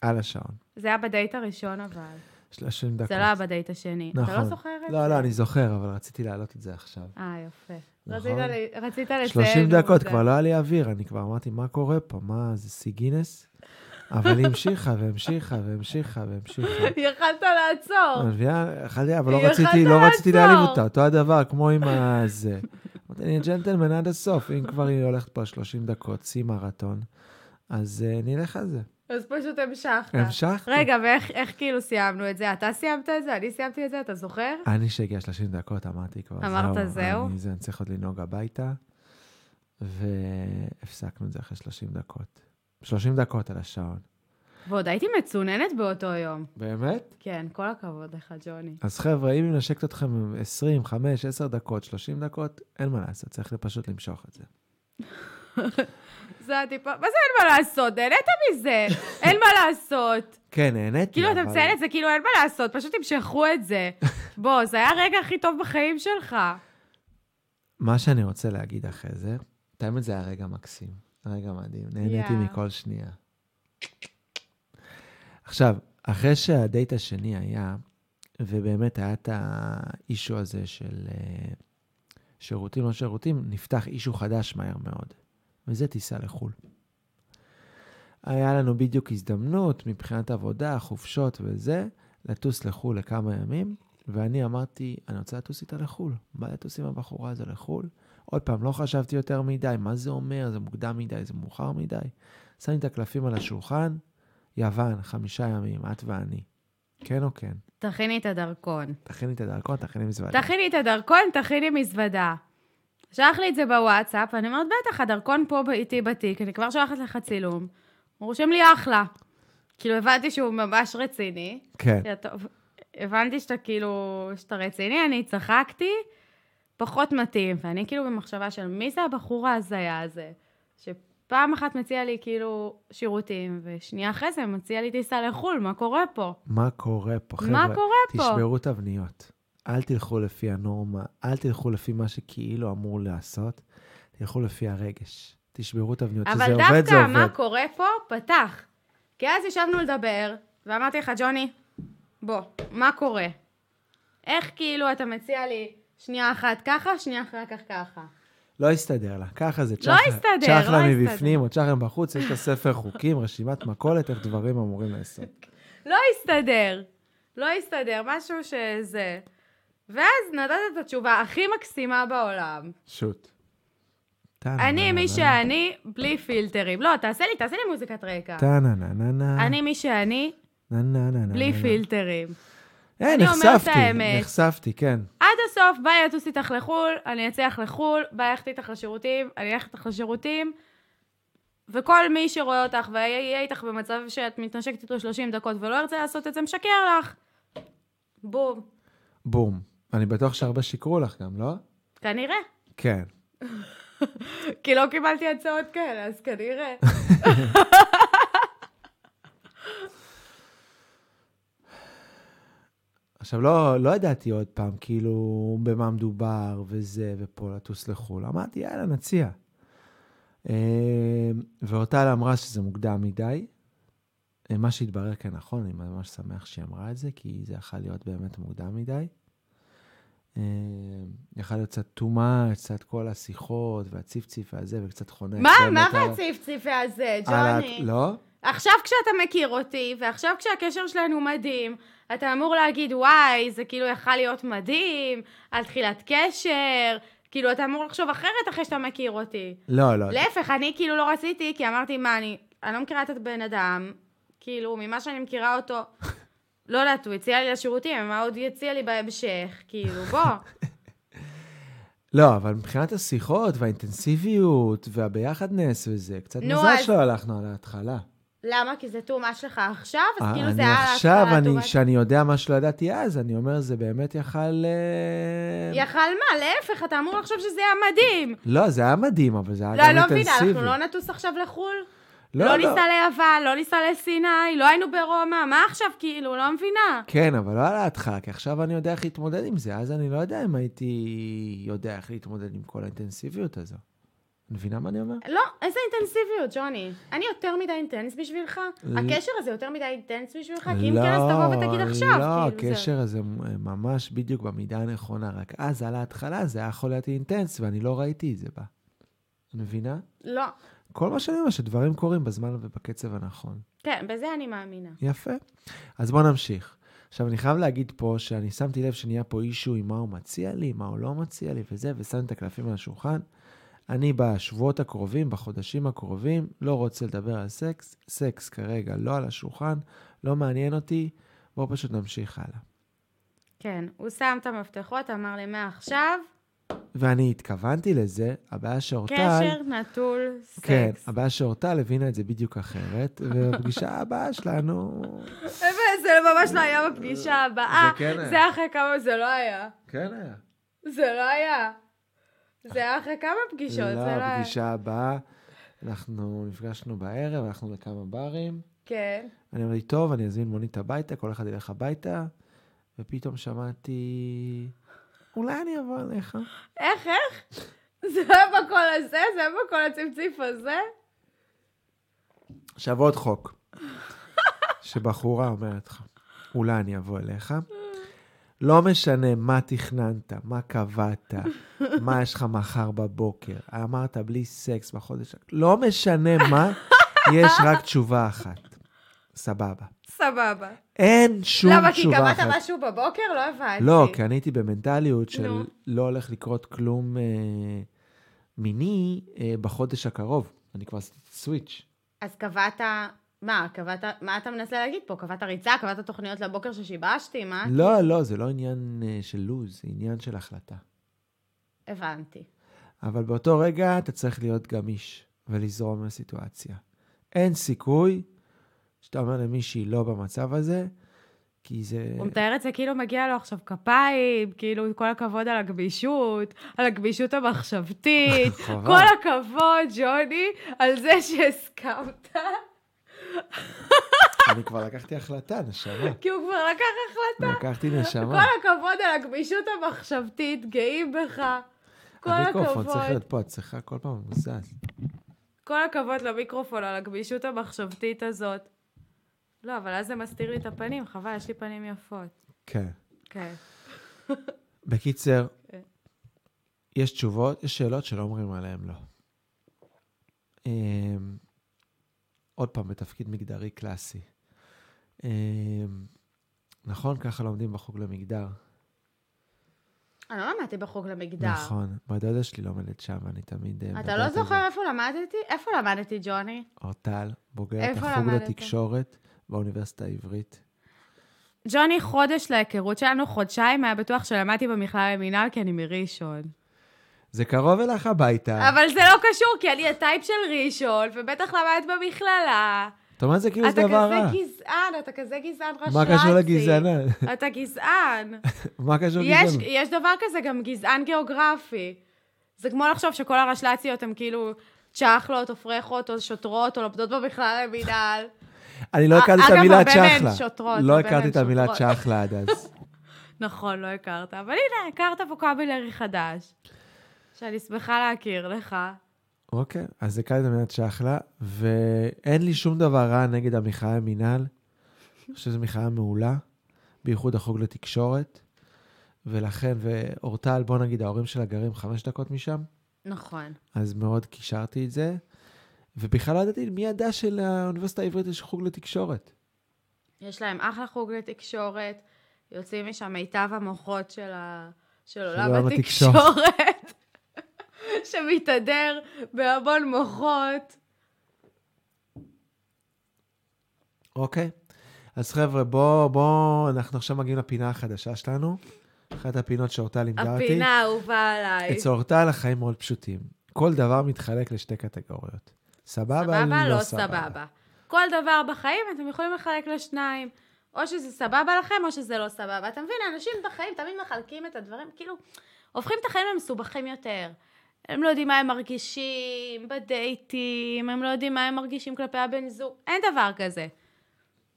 Speaker 1: על השעון.
Speaker 2: זה היה בדייט הראשון, אבל.
Speaker 1: 30 דקות.
Speaker 2: זה לא היה בדייט השני. אתה לא
Speaker 1: נכון.
Speaker 2: זוכר את זה?
Speaker 1: לא, לא, אני זוכר, אבל רציתי להעלות את זה עכשיו.
Speaker 2: אה, יפה.
Speaker 1: נכון.
Speaker 2: רצית ל- רצית לציין...
Speaker 1: 30 דקות,
Speaker 2: זה.
Speaker 1: כבר לא היה לי אוויר, אני כבר אמרתי, מה קורה פה? מה, זה שיא גינס? אבל היא המשיכה והמשיכה והמשיכה והמשיכה.
Speaker 2: יכלת לעצור.
Speaker 1: את מבינה? יכלתי, אבל לא
Speaker 2: יכלת
Speaker 1: רציתי, לא רציתי
Speaker 2: לעצור.
Speaker 1: להעליב אותה, אותו הדבר, כמו עם הזה. אמרתי, אני ג'נטלמן עד הסוף, אם כבר היא הולכת פה 30 דקות, שיא מרתון, אז אה, נלך על זה.
Speaker 2: אז פשוט המשכת.
Speaker 1: המשכתי.
Speaker 2: אה, רגע, ואיך איך כאילו סיימנו את זה? אתה סיימת את זה? אני סיימתי את זה? אתה זוכר?
Speaker 1: אני שהגיע 30 דקות, אמרתי כבר,
Speaker 2: אמרת, זהו?
Speaker 1: אני, זה, אני צריך עוד לנהוג הביתה, והפסקנו את זה אחרי 30 דקות. 30 דקות על השעון.
Speaker 2: ועוד הייתי מצוננת באותו יום.
Speaker 1: באמת?
Speaker 2: כן, כל הכבוד לך, ג'וני.
Speaker 1: אז חבר'ה, אם היא מנשקת אתכם 20, 5, 10 דקות, 30 דקות, אין מה לעשות, צריך פשוט למשוך את זה.
Speaker 2: זה הטיפה... מה זה אין מה לעשות? נהנית מזה. אין מה לעשות.
Speaker 1: כן, נהניתי,
Speaker 2: כאילו, אתה
Speaker 1: אבל-
Speaker 2: מציין את זה, כאילו, אין מה לעשות, פשוט תמשכו את זה. בוא, זה היה הרגע הכי טוב בחיים שלך.
Speaker 1: מה שאני רוצה להגיד אחרי זה, את האמת זה היה רגע מקסים, רגע מדהים, נהניתי
Speaker 2: יאה.
Speaker 1: מכל שנייה. עכשיו, אחרי שהדייט השני היה, ובאמת היה את האישו הזה של אה, שירותים לא שירותים, נפתח אישו חדש מהר מאוד, וזה טיסה לחו"ל. היה לנו בדיוק הזדמנות מבחינת עבודה, חופשות וזה, לטוס לחו"ל לכמה ימים, ואני אמרתי, אני רוצה לטוס איתה לחו"ל. בא לטוס עם הבחורה הזו לחו"ל. עוד פעם, לא חשבתי יותר מדי, מה זה אומר? זה מוקדם מדי, זה מאוחר מדי. שמתי את הקלפים על השולחן, יוון, חמישה ימים, את ואני. כן או כן?
Speaker 2: תכיני את הדרכון.
Speaker 1: תכיני את הדרכון, תכיני מזוודה.
Speaker 2: תכיני את הדרכון, תכיני מזוודה. שלח לי את זה בוואטסאפ, אני אומרת, בטח, הדרכון פה ב- איתי בתיק, אני כבר שולחת לך צילום. הוא רושם לי אחלה. כאילו, הבנתי שהוא ממש רציני.
Speaker 1: כן,
Speaker 2: אמרתי לה, "טוב, הבנתי שאתה כאילו, שאתה רציני, אני צחקתי, פחות מתאים. ואני כאילו במחשבה של מי זה הבחור ההזיה הזה, שפעם אחת מציע לי כאילו שירותים, ושנייה אחרי זה מציע לי טיסה לחו"ל, מה קורה פה?
Speaker 1: מה קורה פה, חבר'ה?
Speaker 2: מה קורה פה?
Speaker 1: תשברו תבניות. אל תלכו לפי הנורמה, אל תלכו לפי מה שכאילו אמור לעשות, תלכו לפי הרגש. תשברו תבניות.
Speaker 2: אבל
Speaker 1: כשזה עובד, זה
Speaker 2: דווקא
Speaker 1: עובד.
Speaker 2: מה קורה פה, פתח. כי אז ישבנו לדבר, ואמרתי לך, ג'וני, בוא, מה קורה? איך כאילו אתה מציע לי שנייה אחת ככה, שנייה אחר כך ככה?
Speaker 1: לא הסתדר לה, ככה זה
Speaker 2: לא הסתדר, לא
Speaker 1: צ'חלה
Speaker 2: הסתדר.
Speaker 1: מבפנים או צ'חלה מבחוץ, יש לה ספר חוקים, רשימת מכולת, איך דברים אמורים לעשות.
Speaker 2: לא הסתדר. לא הסתדר, משהו שזה. ואז נתת את התשובה הכי מקסימה בעולם.
Speaker 1: שוט. אה,
Speaker 2: אני מי שאני, בלי פילטרים. לא, תעשה לי, תעשה לי מוזיקת רקע.
Speaker 1: טה-נה-נה-נה.
Speaker 2: אני מי שאני,
Speaker 1: נה-נה-נה-נה.
Speaker 2: בלי פילטרים.
Speaker 1: אה,
Speaker 2: אני אומרת
Speaker 1: נחשפתי,
Speaker 2: את האמת.
Speaker 1: נחשפתי, כן.
Speaker 2: עד הסוף, ביי, אטוס איתך לחו"ל, אני אצליח לחו"ל, ביי, אלכת איתך לשירותים, אני אלכת איתך לשירותים. וכל מי שרואה אותך ויהיה איתך במצב שאת מתנשקת איתו 30 דקות ולא ירצה לעשות את זה, משקר לך. בום.
Speaker 1: בום. אני בטוח שהרבה שיקרו לך גם, לא?
Speaker 2: כנראה.
Speaker 1: כן.
Speaker 2: כי לא קיבלתי הצעות כאלה, אז כנראה.
Speaker 1: עכשיו, לא, לא ידעתי עוד פעם, כאילו, במה מדובר, וזה, ופה לטוס לחו"ל. אמרתי, יאללה, נציע. אה, ואורטל אמרה שזה מוקדם מדי. אה, מה שהתברר כנכון, אני ממש שמח שהיא אמרה את זה, כי זה יכול להיות באמת מוקדם מדי. אה, יכול להיות קצת too much, קצת כל השיחות, והציפציף והזה, וקצת חונק.
Speaker 2: מה,
Speaker 1: באמת
Speaker 2: מה
Speaker 1: על-
Speaker 2: והציפציפי הזה,
Speaker 1: על ה-
Speaker 2: ג'וני?
Speaker 1: לא?
Speaker 2: עכשיו כשאתה מכיר אותי, ועכשיו כשהקשר שלנו מדהים, אתה אמור להגיד, וואי, זה כאילו יכל להיות מדהים, על תחילת קשר, כאילו, אתה אמור לחשוב אחרת אחרי שאתה מכיר אותי.
Speaker 1: לא, לא.
Speaker 2: להפך, אני כאילו לא רציתי, כי אמרתי, מה, אני, אני לא מכירה את הבן אדם, כאילו, ממה שאני מכירה אותו, לא יודעת, הוא הציע לי לשירותים, מה עוד יציע לי בהמשך? כאילו, בוא.
Speaker 1: לא, אבל מבחינת השיחות והאינטנסיביות והביחדנס וזה, קצת
Speaker 2: נו,
Speaker 1: מזל
Speaker 2: אז-
Speaker 1: שלא הלכנו על ההתחלה.
Speaker 2: למה? כי זה too much לך עכשיו, אז
Speaker 1: אה,
Speaker 2: כאילו
Speaker 1: אני
Speaker 2: זה היה...
Speaker 1: עכשיו,
Speaker 2: להתחלה too
Speaker 1: אני,
Speaker 2: much.
Speaker 1: שאני יודע מה שלא ידעתי אז, אני אומר, זה באמת יכל... אה,
Speaker 2: יכל מה? להפך, אתה אמור לחשוב שזה היה מדהים.
Speaker 1: לא, זה היה מדהים, אבל זה היה
Speaker 2: לא,
Speaker 1: גם
Speaker 2: אני לא מבינה,
Speaker 1: אינטנסיבי.
Speaker 2: אנחנו לא נטוס עכשיו לחו"ל? לא ניסע ליוון, לא ניסע לסיני, לא היינו ברומא, מה עכשיו כאילו? לא מבינה.
Speaker 1: כן, אבל לא על ההתחלה, כי עכשיו אני יודע איך להתמודד עם זה, אז אני לא יודע אם הייתי יודע איך להתמודד עם כל האינטנסיביות הזו. את מבינה מה אני אומר?
Speaker 2: לא, איזה אינטנסיביות, ג'וני. אני יותר מדי אינטנס בשבילך?
Speaker 1: ל-
Speaker 2: הקשר הזה יותר מדי אינטנס בשבילך? כי אם כן, אז תבוא ותגיד עכשיו.
Speaker 1: לא,
Speaker 2: כאילו, זה-
Speaker 1: הקשר הזה ממש בדיוק במידה הנכונה, רק אז על ההתחלה זה היה יכול להיות אינטנס, ואני לא ראיתי את זה בה. את מבינה?
Speaker 2: לא.
Speaker 1: כל מה שאני אומר, שדברים קורים בזמן ובקצב הנכון.
Speaker 2: כן, בזה אני מאמינה.
Speaker 1: יפה. אז בואו נמשיך. עכשיו, אני חייב להגיד פה שאני שמתי לב שנהיה פה אישו עם מה הוא מציע לי, מה הוא לא מציע לי וזה, ושמתי את הקלפים על השולחן. אני בשבועות הקרובים, בחודשים הקרובים, לא רוצה לדבר על סקס. סקס כרגע לא על השולחן, לא מעניין אותי. בואו פשוט נמשיך הלאה.
Speaker 2: כן, הוא שם את המפתחות, אמר לי, מעכשיו,
Speaker 1: ואני התכוונתי לזה, הבעיה שאורטל...
Speaker 2: קשר נטול
Speaker 1: כן,
Speaker 2: סקס.
Speaker 1: הבעיה שאורטל הבינה את זה בדיוק אחרת, ובפגישה הבאה שלנו...
Speaker 2: אבל זה ממש לא היה בפגישה הבאה.
Speaker 1: זה כן היה.
Speaker 2: זה אחרי כמה, זה לא היה.
Speaker 1: כן היה.
Speaker 2: זה לא היה. זה היה אחרי כמה פגישות, זה לא היה.
Speaker 1: הפגישה הבאה, אנחנו נפגשנו בערב, הלכנו לכמה ברים.
Speaker 2: כן.
Speaker 1: אני אמרתי, טוב, אני אזמין מונית הביתה, כל אחד ילך הביתה, ופתאום שמעתי, אולי אני אבוא אליך.
Speaker 2: איך, איך? זה לא היה בקול הזה? זה היה בקול הצפציף הזה?
Speaker 1: עכשיו עוד חוק, שבחורה אומרת לך, אולי אני אבוא אליך. לא משנה מה תכננת, מה קבעת, מה יש לך מחר בבוקר, אמרת בלי סקס בחודש, לא משנה מה, יש רק תשובה אחת. סבבה.
Speaker 2: סבבה.
Speaker 1: אין שום
Speaker 2: למה, לא, כי
Speaker 1: תשובה
Speaker 2: קבעת
Speaker 1: אחת.
Speaker 2: משהו בבוקר? לא הבנתי.
Speaker 1: לא, כי אני הייתי במנטליות של
Speaker 2: נו.
Speaker 1: לא הולך לקרות כלום אה, מיני אה, בחודש הקרוב. אני כבר עשיתי סוויץ'.
Speaker 2: אז קבעת... מה, קבעת... מה אתה מנסה להגיד פה? קבעת ריצה? קבעת תוכניות לבוקר ששיבשתי? מה?
Speaker 1: לא, לא, זה לא עניין אה, של לוז, זה עניין של החלטה. לא.
Speaker 2: הבנתי.
Speaker 1: אה. אבל באותו רגע אתה צריך להיות גמיש ולזרום עם הסיטואציה. אין סיכוי שאתה אומר למישהי לא במצב הזה, כי זה...
Speaker 2: הוא מתאר את זה כאילו מגיע לו עכשיו כפיים, כאילו כל הכבוד על הגמישות, על הגמישות המחשבתית.
Speaker 1: חבל.
Speaker 2: כל הכבוד, ג'וני, על זה שהסכמת,
Speaker 1: אני כבר לקחתי החלטה, נשמה.
Speaker 2: כי הוא כבר לקח החלטה.
Speaker 1: לקחתי
Speaker 2: כל
Speaker 1: נשמה.
Speaker 2: הכבוד על הגמישות המחשבתית, גאים בך. כל
Speaker 1: המיקרופון צריך
Speaker 2: הכבוד,
Speaker 1: להיות פה, את צריכה כל פעם מוזז.
Speaker 2: כל הכבוד למיקרופון על הגמישות המחשבתית הזאת. לא, אבל אז זה מסתיר לי את הפנים, חבל, יש לי פנים יפות.
Speaker 1: כן.
Speaker 2: כן.
Speaker 1: בקיצר,
Speaker 2: כן.
Speaker 1: יש תשובות, יש שאלות שלא אומרים עליהן לא. אמ, עוד פעם, בתפקיד מגדרי קלאסי. אמ, נכון, ככה לומדים בחוג למגדר.
Speaker 2: אני לא למדתי בחוג למגדר.
Speaker 1: נכון, בדודה שלי לומדת שם, ואני תמיד... אה,
Speaker 2: אתה
Speaker 1: מדברת
Speaker 2: לא
Speaker 1: על זה.
Speaker 2: זוכר איפה למדתי? איפה למדתי, ג'וני?
Speaker 1: אורטל, בוגרת
Speaker 2: איפה
Speaker 1: החוג
Speaker 2: למדת?
Speaker 1: לתקשורת באוניברסיטה העברית.
Speaker 2: ג'וני, חודש להיכרות שלנו, חודשיים היה בטוח שלמדתי במכלל למינהל כי אני מראשון.
Speaker 1: זה קרוב אליך הביתה.
Speaker 2: אבל זה לא קשור, כי אני הטייפ של ראשון, ובטח למדת במכללה.
Speaker 1: אתה אומר, זה כאילו זה
Speaker 2: אתה
Speaker 1: דבר
Speaker 2: כזה כאילו
Speaker 1: רע.
Speaker 2: גזען, אתה כזה גזען רשרצי.
Speaker 1: מה קשור לגזענה?
Speaker 2: אתה גזען.
Speaker 1: מה קשור
Speaker 2: יש,
Speaker 1: לגזענות?
Speaker 2: יש דבר כזה גם גזען גיאוגרפי. זה כמו לחשוב שכל הרשל"ציות הן כאילו צ'חלות, או פרחות, או שוטרות, או לומדות במכלל למינהל.
Speaker 1: אני לא
Speaker 2: א-
Speaker 1: הכרתי את
Speaker 2: אה, אגב,
Speaker 1: המילה
Speaker 2: הרבה מהן
Speaker 1: צ'חלה.
Speaker 2: שוטרות,
Speaker 1: לא
Speaker 2: הרבה
Speaker 1: הכרתי
Speaker 2: מהן
Speaker 1: את המילה
Speaker 2: שוטרות.
Speaker 1: צ'חלה עד אז.
Speaker 2: נכון, לא הכרת, אבל הנה, הכרת ווקאבילרי חדש, שאני שמחה להכיר לך.
Speaker 1: אוקיי, אז הכרתי את המילה צ'חלה, ואין לי שום דבר רע נגד המחאה המינהל. אני חושב שזו מחאה מעולה, בייחוד החוג לתקשורת. ולכן, ואורטל, בוא נגיד, ההורים שלה גרים חמש דקות משם,
Speaker 2: נכון.
Speaker 1: אז מאוד קישרתי את זה. ובכלל לא ידעתי, מי ידע שלאוניברסיטה העברית יש חוג לתקשורת?
Speaker 2: יש להם אחלה חוג לתקשורת, יוצאים משם מיטב המוחות של, ה... של
Speaker 1: עולם
Speaker 2: עולם
Speaker 1: התקשורת.
Speaker 2: התקשורת, שמתהדר בהמון מוחות.
Speaker 1: אוקיי. אז חבר'ה, בואו, בואו, אנחנו עכשיו מגיעים לפינה החדשה שלנו. אחת הפינות שאורטל לימדה אותי.
Speaker 2: הפינה האהובה עליי.
Speaker 1: אצל אורטל החיים מאוד פשוטים. כל דבר מתחלק לשתי קטגוריות. סבבה,
Speaker 2: סבבה, לא סבבה. כל דבר בחיים אתם יכולים לחלק לשניים. או שזה סבבה לכם, או שזה לא סבבה. אתה מבין, אנשים בחיים תמיד מחלקים את הדברים, כאילו, הופכים את החיים למסובכים יותר. הם לא יודעים מה הם מרגישים בדייטים, הם לא יודעים מה הם מרגישים כלפי הבן זוג, אין דבר כזה.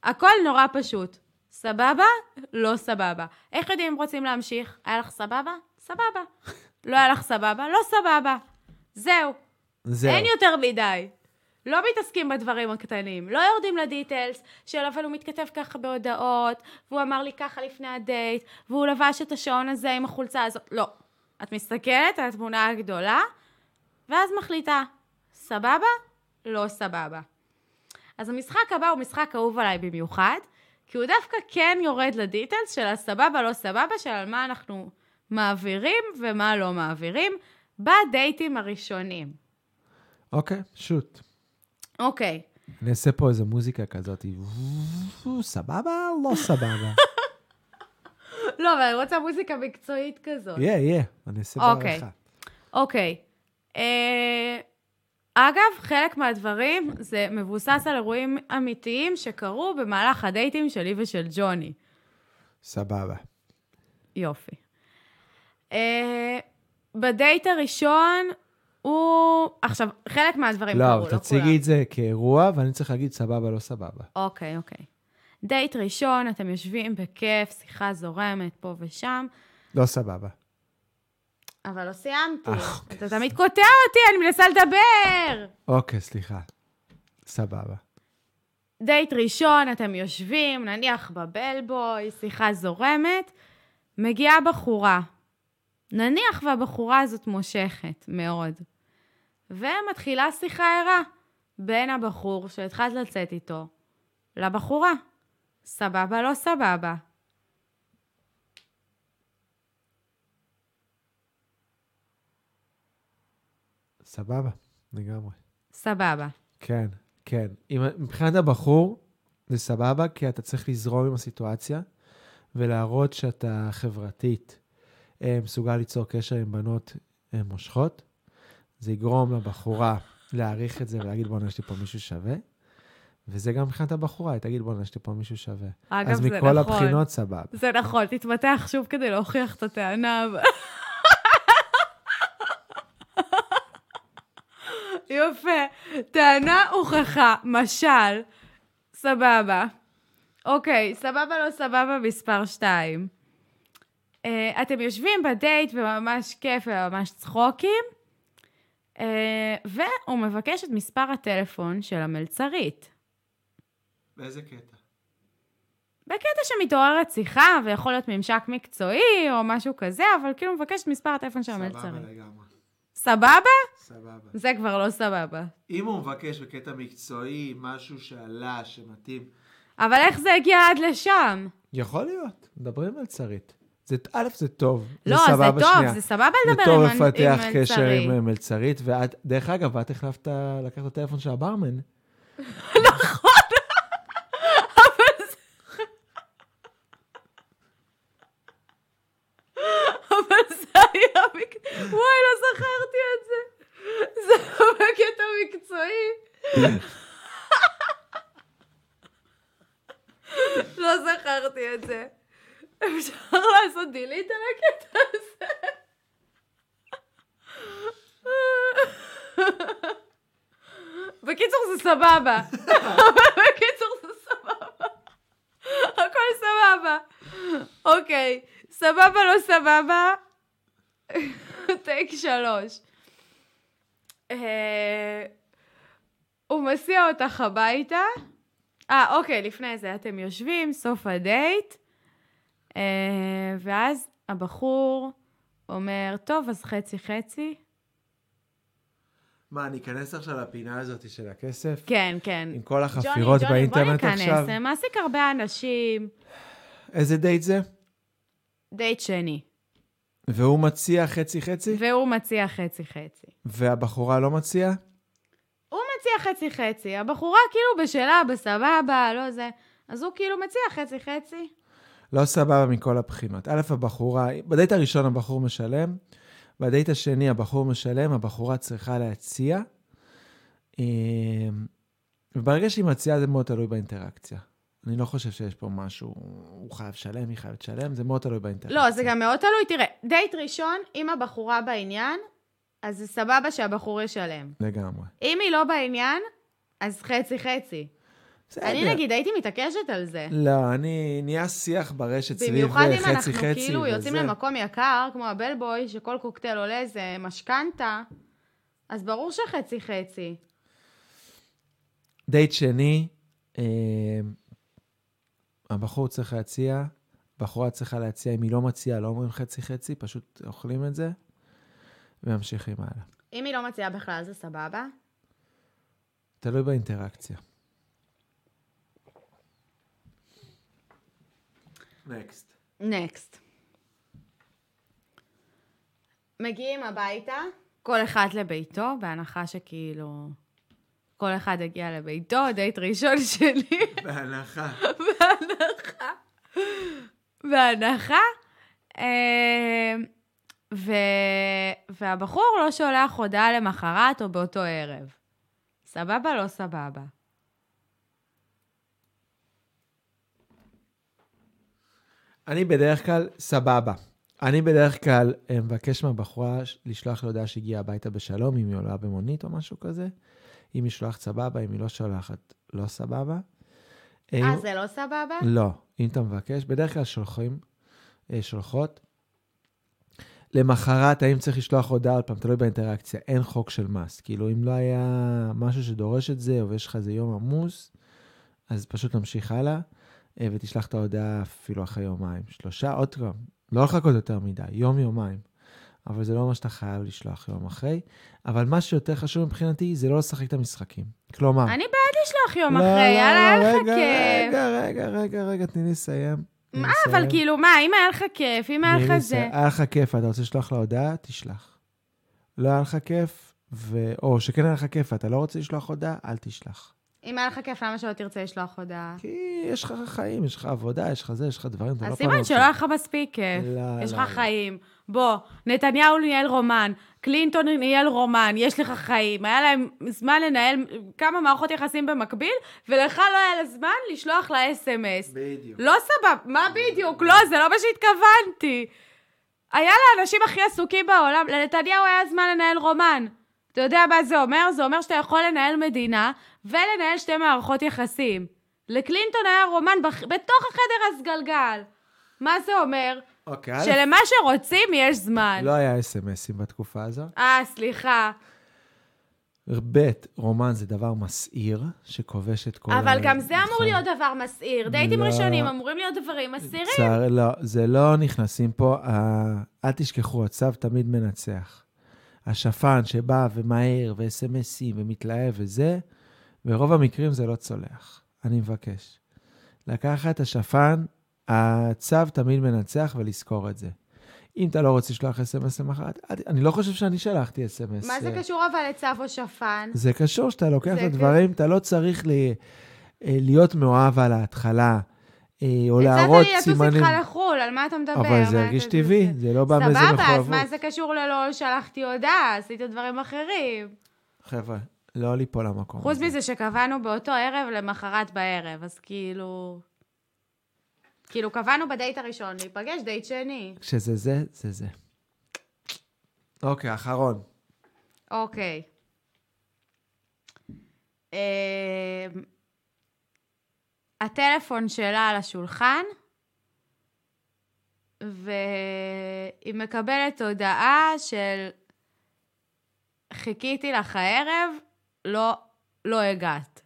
Speaker 2: הכל נורא פשוט. סבבה? לא סבבה. איך יודעים אם רוצים להמשיך? היה לך סבבה? סבבה. לא היה לך סבבה? לא סבבה. זהו.
Speaker 1: זהו.
Speaker 2: אין יותר מדי. לא מתעסקים בדברים הקטנים, לא יורדים לדיטלס של אבל הוא מתכתב ככה בהודעות, והוא אמר לי ככה לפני הדייט, והוא לבש את השעון הזה עם החולצה הזאת. לא. את מסתכלת על התמונה הגדולה, ואז מחליטה, סבבה? לא סבבה. אז המשחק הבא הוא משחק אהוב עליי במיוחד, כי הוא דווקא כן יורד לדיטלס של הסבבה, לא סבבה, של על מה אנחנו מעבירים ומה לא מעבירים, בדייטים הראשונים.
Speaker 1: אוקיי, שוט.
Speaker 2: אוקיי.
Speaker 1: אני אעשה פה איזה מוזיקה כזאת, וו, סבבה, לא סבבה.
Speaker 2: לא, אבל אני רוצה מוזיקה מקצועית כזאת.
Speaker 1: יהיה, יהיה, אני אעשה
Speaker 2: אוקיי.
Speaker 1: בעריכה.
Speaker 2: אוקיי. אה, אגב, חלק מהדברים זה מבוסס על אירועים אמיתיים שקרו במהלך הדייטים שלי ושל ג'וני.
Speaker 1: סבבה.
Speaker 2: יופי. אה, בדייט הראשון הוא... עכשיו, חלק מהדברים
Speaker 1: לא,
Speaker 2: קרו, לא
Speaker 1: אבל
Speaker 2: כולם.
Speaker 1: תציגי את זה כאירוע, ואני צריך להגיד סבבה, לא סבבה.
Speaker 2: אוקיי, אוקיי. דייט ראשון, אתם יושבים בכיף, שיחה זורמת פה ושם,
Speaker 1: לא סבבה.
Speaker 2: אבל לא סיימתי.
Speaker 1: אה, אוקיי.
Speaker 2: אתה תמיד קוטע אותי, אני מנסה לדבר!
Speaker 1: אוקיי, סליחה. סבבה.
Speaker 2: דייט ראשון, אתם יושבים, נניח בבלבוי, שיחה זורמת, מגיעה בחורה. נניח והבחורה הזאת מושכת מאוד. ומתחילה שיחה ערה בין הבחור שהתחלת לצאת איתו לבחורה. סבבה, לא סבבה.
Speaker 1: סבבה, לגמרי.
Speaker 2: סבבה.
Speaker 1: כן, כן. אם, מבחינת הבחור, זה סבבה, כי אתה צריך לזרום עם הסיטואציה ולהראות שאתה חברתית, אה, מסוגל ליצור קשר עם בנות אה, מושכות. זה יגרום לבחורה להעריך את זה ולהגיד, בואנה, יש לי פה מישהו שווה. וזה גם מבחינת הבחורה, היא תגיד, בואנה, יש לי פה מישהו שווה.
Speaker 2: אגב,
Speaker 1: אז
Speaker 2: זה
Speaker 1: מכל
Speaker 2: נכון.
Speaker 1: הבחינות, סבבה.
Speaker 2: זה נכון, תתמתח שוב כדי להוכיח את הטענה. אבל- יפה, טענה הוכחה, משל, סבבה. אוקיי, סבבה לא סבבה מספר שתיים. אה, אתם יושבים בדייט וממש כיף וממש צחוקים, אה, והוא מבקש את מספר הטלפון של המלצרית.
Speaker 1: באיזה קטע?
Speaker 2: בקטע שמתעוררת שיחה, ויכול להיות ממשק מקצועי או משהו כזה, אבל כאילו מבקש את מספר הטלפון של המלצרית.
Speaker 1: לגמרי.
Speaker 2: סבבה?
Speaker 1: סבבה.
Speaker 2: זה כבר לא סבבה.
Speaker 1: אם הוא מבקש בקטע מקצועי משהו שעלה, שמתאים...
Speaker 2: אבל איך זה הגיע עד לשם?
Speaker 1: יכול להיות, מדברים על צריט. זה, א', זה טוב,
Speaker 2: לא,
Speaker 1: זה
Speaker 2: זה
Speaker 1: סבבה
Speaker 2: טוב,
Speaker 1: שנייה.
Speaker 2: זה סבבה
Speaker 1: זה
Speaker 2: לדבר עם
Speaker 1: טוב
Speaker 2: מל-
Speaker 1: לפתח
Speaker 2: עם
Speaker 1: קשר
Speaker 2: מלצרית.
Speaker 1: עם אה, מלצרית, ואת, דרך אגב, את החלפת, לקחת את הטלפון של הברמן.
Speaker 2: אבל זה היה מקצועי. וואי, לא זכרתי את זה. זה היה בקטע מקצועי. לא זכרתי את זה. אפשר לעשות delete על הקטע הזה? זה סבבה. בקיצור זה סבבה. הכל סבבה. אוקיי, סבבה לא סבבה. טייק שלוש. אה, הוא מסיע אותך הביתה. אה, אוקיי, לפני זה אתם יושבים, סוף הדייט, אה, ואז הבחור אומר, טוב, אז חצי-חצי.
Speaker 1: מה, אני אכנס עכשיו לפינה הזאת של הכסף?
Speaker 2: כן, כן.
Speaker 1: עם כל
Speaker 2: ג'וני,
Speaker 1: החפירות
Speaker 2: ג'וני,
Speaker 1: באינטרנט
Speaker 2: בוא ניכנס,
Speaker 1: עכשיו?
Speaker 2: זה מעסיק הרבה אנשים.
Speaker 1: איזה דייט זה?
Speaker 2: דייט שני.
Speaker 1: והוא מציע חצי-חצי?
Speaker 2: והוא מציע חצי-חצי.
Speaker 1: והבחורה לא מציעה?
Speaker 2: הוא מציע חצי-חצי, הבחורה כאילו בשלה, בסבבה, לא זה. אז הוא כאילו מציע חצי-חצי.
Speaker 1: לא סבבה מכל הבחינות. א', הבחורה, בדייט הראשון הבחור משלם, בדייט השני הבחור משלם, הבחורה צריכה להציע. אה, וברגע שהיא מציעה זה מאוד תלוי באינטראקציה. אני לא חושב שיש פה משהו, הוא חייב לשלם, היא חייבת לשלם, זה מאוד תלוי באינטראקציה.
Speaker 2: לא, זה גם מאוד תלוי. תראה, דייט ראשון, אם הבחורה בעניין, אז זה סבבה שהבחור ישלם.
Speaker 1: לגמרי.
Speaker 2: אם היא לא בעניין, אז חצי-חצי.
Speaker 1: בסדר.
Speaker 2: אני נגיד הייתי מתעקשת על זה.
Speaker 1: לא, אני, נהיה שיח ברשת סביב חצי-חצי.
Speaker 2: במיוחד אם אנחנו כאילו יוצאים למקום יקר, כמו הבלבוי, שכל קוקטייל עולה איזה משכנתה, אז ברור שחצי-חצי.
Speaker 1: דייט שני, אה, הבחור צריך להציע, הבחורה צריכה להציע, אם היא לא מציעה, לא אומרים חצי-חצי, פשוט אוכלים את זה, וממשיכים הלאה.
Speaker 2: אם היא לא מציעה בכלל, זה סבבה.
Speaker 1: תלוי באינטראקציה. נקסט.
Speaker 2: נקסט. מגיעים הביתה, כל אחד לביתו, בהנחה שכאילו... כל אחד הגיע לביתו, דייט ראשון שלי,
Speaker 1: בהנחה.
Speaker 2: בהנחה. אה, ו... והבחור לא שולח הודעה למחרת או באותו ערב. סבבה, לא סבבה.
Speaker 1: אני בדרך כלל, סבבה. אני בדרך כלל אה, מבקש מהבחורה ש- לשלוח לי הודעה שהגיעה הביתה בשלום, אם היא עולה במונית או משהו כזה. אם היא שולחת סבבה, אם היא לא שולחת, לא סבבה. אה,
Speaker 2: אה,
Speaker 1: אם-
Speaker 2: זה לא סבבה?
Speaker 1: לא, אם אתה מבקש, בדרך כלל שולחים, אה, שולחות. למחרת, האם צריך לשלוח הודעה, עוד פעם, תלוי באינטראקציה, אין חוק של מס. כאילו, אם לא היה משהו שדורש את זה, או יש לך איזה יום עמוס, אז פשוט נמשיך הלאה, אה, ותשלח את ההודעה אפילו אחרי יומיים. שלושה, עוד פעם, לא לחכות יותר מדי, יום-יומיים. אבל זה לא מה שאתה חייב לשלוח יום אחרי. אבל מה שיותר חשוב מבחינתי, זה לא לשחק את המשחקים. כלומר...
Speaker 2: אני בעד לשלוח
Speaker 1: לא,
Speaker 2: יום אחרי, יאללה, היה לך
Speaker 1: רגע,
Speaker 2: כיף.
Speaker 1: רגע, רגע, רגע, רגע, תני לי לסיים. תני לי
Speaker 2: מה, אבל
Speaker 1: לסיים.
Speaker 2: כאילו, מה, אם היה לך כיף, אם היה
Speaker 1: תני לי
Speaker 2: לך זה...
Speaker 1: לסיים. היה לך כיף, אתה רוצה לשלוח לה הודעה? תשלח. לא היה לך כיף, ו... או שכן היה לך כיף, אתה לא רוצה לשלוח הודעה? אל תשלח.
Speaker 2: אם היה לך כיף, למה שלא תרצה לשלוח הודעה?
Speaker 1: כי יש לך חיים, יש לך עבודה, יש לך זה, יש לך דברים, אתה לא
Speaker 2: אז
Speaker 1: פעם...
Speaker 2: סימן שלא היה לך מספיק כיף.
Speaker 1: לא,
Speaker 2: יש
Speaker 1: לא,
Speaker 2: לך
Speaker 1: לא.
Speaker 2: חיים. בוא, נתניהו ניהל רומן, קלינטון ניהל רומן, יש לך חיים. היה להם זמן לנהל כמה מערכות יחסים במקביל, ולך לא היה לה זמן לשלוח לה אס.אם.אס.
Speaker 1: בדיוק.
Speaker 2: לא סבבה, מה בדיוק? לא, זה לא מה שהתכוונתי. היה לאנשים הכי עסוקים בעולם, לנתניהו היה זמן לנהל רומן. אתה יודע מה זה אומר? זה אומר שאתה יכול לנהל מדינה ולנהל שתי מערכות יחסים. לקלינטון היה רומן בח... בתוך החדר הסגלגל. מה זה אומר?
Speaker 1: אוקיי, א',
Speaker 2: שלמה שרוצים יש זמן.
Speaker 1: לא היה אס.אם.אסים בתקופה הזאת.
Speaker 2: אה, סליחה.
Speaker 1: ב', רומן זה דבר מסעיר, שכובש את כל...
Speaker 2: אבל
Speaker 1: ה-
Speaker 2: גם זה אמור
Speaker 1: נכון.
Speaker 2: להיות דבר מסעיר. דייטים
Speaker 1: לא.
Speaker 2: ראשונים אמורים להיות דברים מסעירים.
Speaker 1: צער, לא, זה לא נכנסים פה, אה, אל תשכחו, הצו תמיד מנצח. השפן שבא ומהר, וסמסים, ומתלהב וזה, ברוב המקרים זה לא צולח. אני מבקש. לקחת השפן, הצו תמיד מנצח, ולזכור את זה. אם אתה לא רוצה לשלוח אס.אם.אס למחרת, אל ת- אני לא חושב שאני שלחתי אס.אם.אס.
Speaker 2: מה זה קשור אבל לצו או שפן?
Speaker 1: אה, זה קשור שאתה לוקח
Speaker 2: זה כן.
Speaker 1: את הדברים, אתה לא צריך ל... אה, להיות מאוהב על ההתחלה, אה, או להראות
Speaker 2: הצעת לי
Speaker 1: סימנים.
Speaker 2: לטוס איתך לחו"ל, על מה אתה מדבר?
Speaker 1: אבל זה
Speaker 2: מה
Speaker 1: הרגיש
Speaker 2: אתה-
Speaker 1: טבעי, זה לא בא מאיזה
Speaker 2: סבבה, אז
Speaker 1: מחויבות.
Speaker 2: מה זה קשור ללא שלחתי הודעה? עשית דברים אחרים.
Speaker 1: אה, חבר'ה, לא ליפול למקום.
Speaker 2: חוץ
Speaker 1: הזה.
Speaker 2: מזה שקבענו באותו ערב למחרת בערב, אז כאילו... כאילו, קבענו בדייט הראשון להיפגש, דייט שני.
Speaker 1: כשזה זה, זה זה. אוקיי, אחרון.
Speaker 2: אוקיי. אמ, הטלפון שלה על השולחן, והיא מקבלת הודעה של חיכיתי לך הערב, לא, לא הגעת,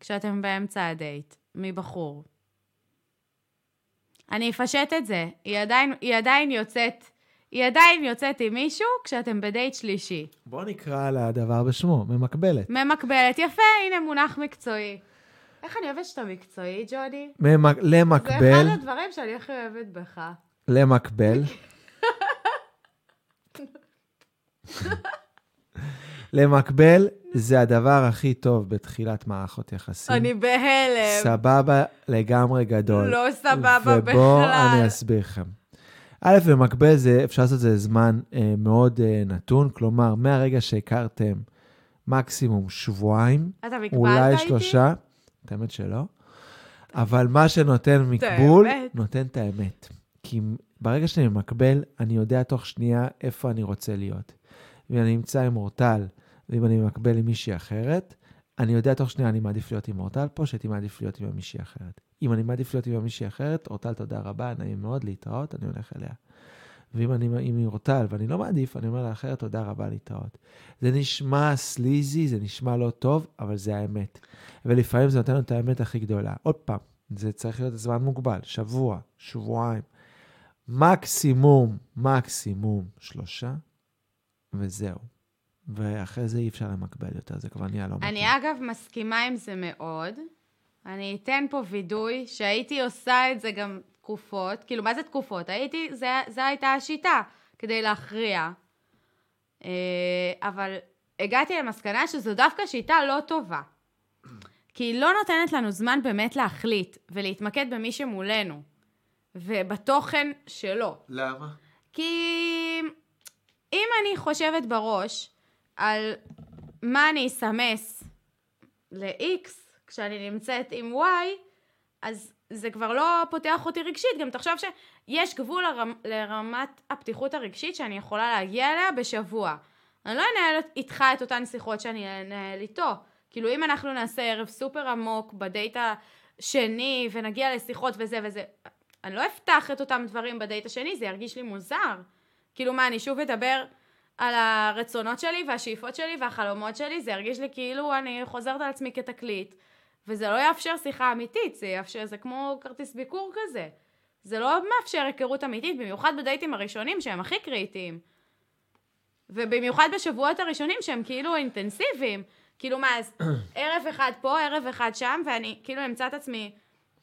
Speaker 2: כשאתם באמצע הדייט, מבחור. אני אפשט את זה, היא עדיין, היא עדיין יוצאת, היא עדיין יוצאת עם מישהו כשאתם בדייט שלישי.
Speaker 1: בוא נקרא לדבר בשמו, ממקבלת.
Speaker 2: ממקבלת, יפה, הנה מונח מקצועי. איך אני אוהבת שאתה מקצועי, ג'ודי?
Speaker 1: ממק-
Speaker 2: זה
Speaker 1: למקבל,
Speaker 2: אחד הדברים שאני הכי אוהבת בך.
Speaker 1: למקבל. למקבל זה הדבר הכי טוב בתחילת מערכות יחסים.
Speaker 2: אני בהלם.
Speaker 1: סבבה לגמרי גדול.
Speaker 2: לא סבבה
Speaker 1: ובואו
Speaker 2: בכלל.
Speaker 1: אני אסביר לכם. א', במקביל זה, אפשר לעשות את זה זמן אה, מאוד אה, נתון, כלומר, מהרגע שהכרתם מקסימום שבועיים,
Speaker 2: אתה מקבלת איתי?
Speaker 1: אולי שלושה, את האמת שלא, אבל מה שנותן מקבול,
Speaker 2: האמת.
Speaker 1: נותן את האמת. כי ברגע שאני מקבל, אני יודע תוך שנייה איפה אני רוצה להיות. ואם אני נמצא עם אורטל, ואם אני מקבל עם מישהי אחרת, אני יודע תוך שנייה אני מעדיף להיות עם אורטל פה, שהייתי מעדיף להיות עם מישהי אחרת. אם אני מעדיף להיות עם מישהי אחרת, אורטל, תודה רבה, נעים מאוד, להתראות, אני הולך אליה. ואם אני עם אורטל ואני לא מעדיף, אני אומר לאחרת, תודה רבה, להתראות. זה נשמע סליזי, זה נשמע לא טוב, אבל זה האמת. ולפעמים זה נותן לנו את האמת הכי גדולה. עוד פעם, זה צריך להיות זמן מוגבל, שבוע, שבועיים. מקסימום, מקסימום שלושה, וזהו. ואחרי זה אי אפשר למקבל יותר, זה כבר נהיה לא מתאים.
Speaker 2: אני אגב מסכימה עם זה מאוד. אני אתן פה וידוי שהייתי עושה את זה גם תקופות. כאילו, מה זה תקופות? הייתי, זה, זה הייתה השיטה כדי להכריע. אה, אבל הגעתי למסקנה שזו דווקא שיטה לא טובה. כי היא לא נותנת לנו זמן באמת להחליט ולהתמקד במי שמולנו ובתוכן שלו.
Speaker 1: למה?
Speaker 2: כי אם אני חושבת בראש על מה אני אסמס ל-X כשאני נמצאת עם Y, אז זה כבר לא פותח אותי רגשית. גם תחשוב שיש גבול לרמ, לרמת הפתיחות הרגשית שאני יכולה להגיע אליה בשבוע. אני לא אנהל איתך את אותן שיחות שאני אנהל איתו. כאילו, אם אנחנו נעשה ערב סופר עמוק בדייט השני, ונגיע לשיחות וזה וזה, אני לא אפתח את אותם דברים בדייט השני, זה ירגיש לי מוזר. כאילו, מה, אני שוב אדבר על הרצונות שלי והשאיפות שלי והחלומות שלי, זה ירגיש לי כאילו אני חוזרת על עצמי כתקליט, וזה לא יאפשר שיחה אמיתית, זה יאפשר, זה כמו כרטיס ביקור כזה. זה לא מאפשר היכרות אמיתית, במיוחד בדייטים הראשונים שהם הכי קריטיים. ובמיוחד בשבועות הראשונים שהם כאילו אינטנסיביים. כאילו מה, אז ערב אחד פה, ערב אחד שם, ואני כאילו אמצא את עצמי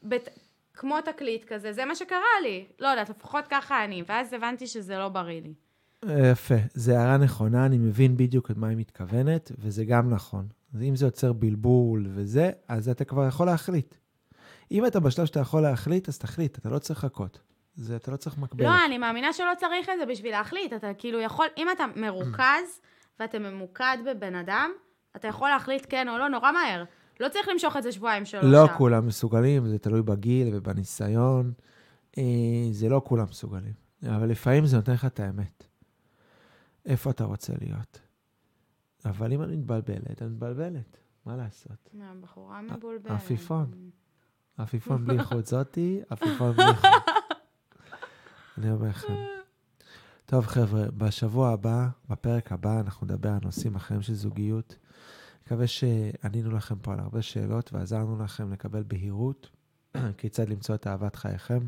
Speaker 2: בת... כמו תקליט כזה, זה מה שקרה לי. לא יודעת, לפחות ככה אני. ואז הבנתי שזה לא בריא לי.
Speaker 1: יפה, זו הערה נכונה, אני מבין בדיוק את מה היא מתכוונת, וזה גם נכון. אז אם זה יוצר בלבול וזה, אז אתה כבר יכול להחליט. אם אתה בשלב שאתה יכול להחליט, אז תחליט, אתה לא צריך לחכות. זה, אתה לא צריך מקבל.
Speaker 2: לא, אני מאמינה שלא צריך את זה בשביל להחליט. אתה כאילו יכול, אם אתה מרוכז ואתה ממוקד בבן אדם, אתה יכול להחליט כן או לא נורא מהר. לא צריך למשוך את זה שבועיים שלושה.
Speaker 1: לא כולם מסוגלים, זה תלוי בגיל ובניסיון. אה, זה לא כולם מסוגלים. אבל לפעמים זה נותן לך את האמת. איפה אתה רוצה להיות. אבל אם אני מתבלבלת, אני מתבלבלת. מה לעשות?
Speaker 2: לא, בחורה מבולבלת.
Speaker 1: עפיפון. עפיפון בלי חוט זאתי, עפיפון בלי חוט. אני אומר לכם. טוב, חבר'ה, בשבוע הבא, בפרק הבא, אנחנו נדבר על נושאים אחרים של זוגיות. מקווה שענינו לכם פה על הרבה שאלות ועזרנו לכם לקבל בהירות כיצד למצוא את אהבת חייכם.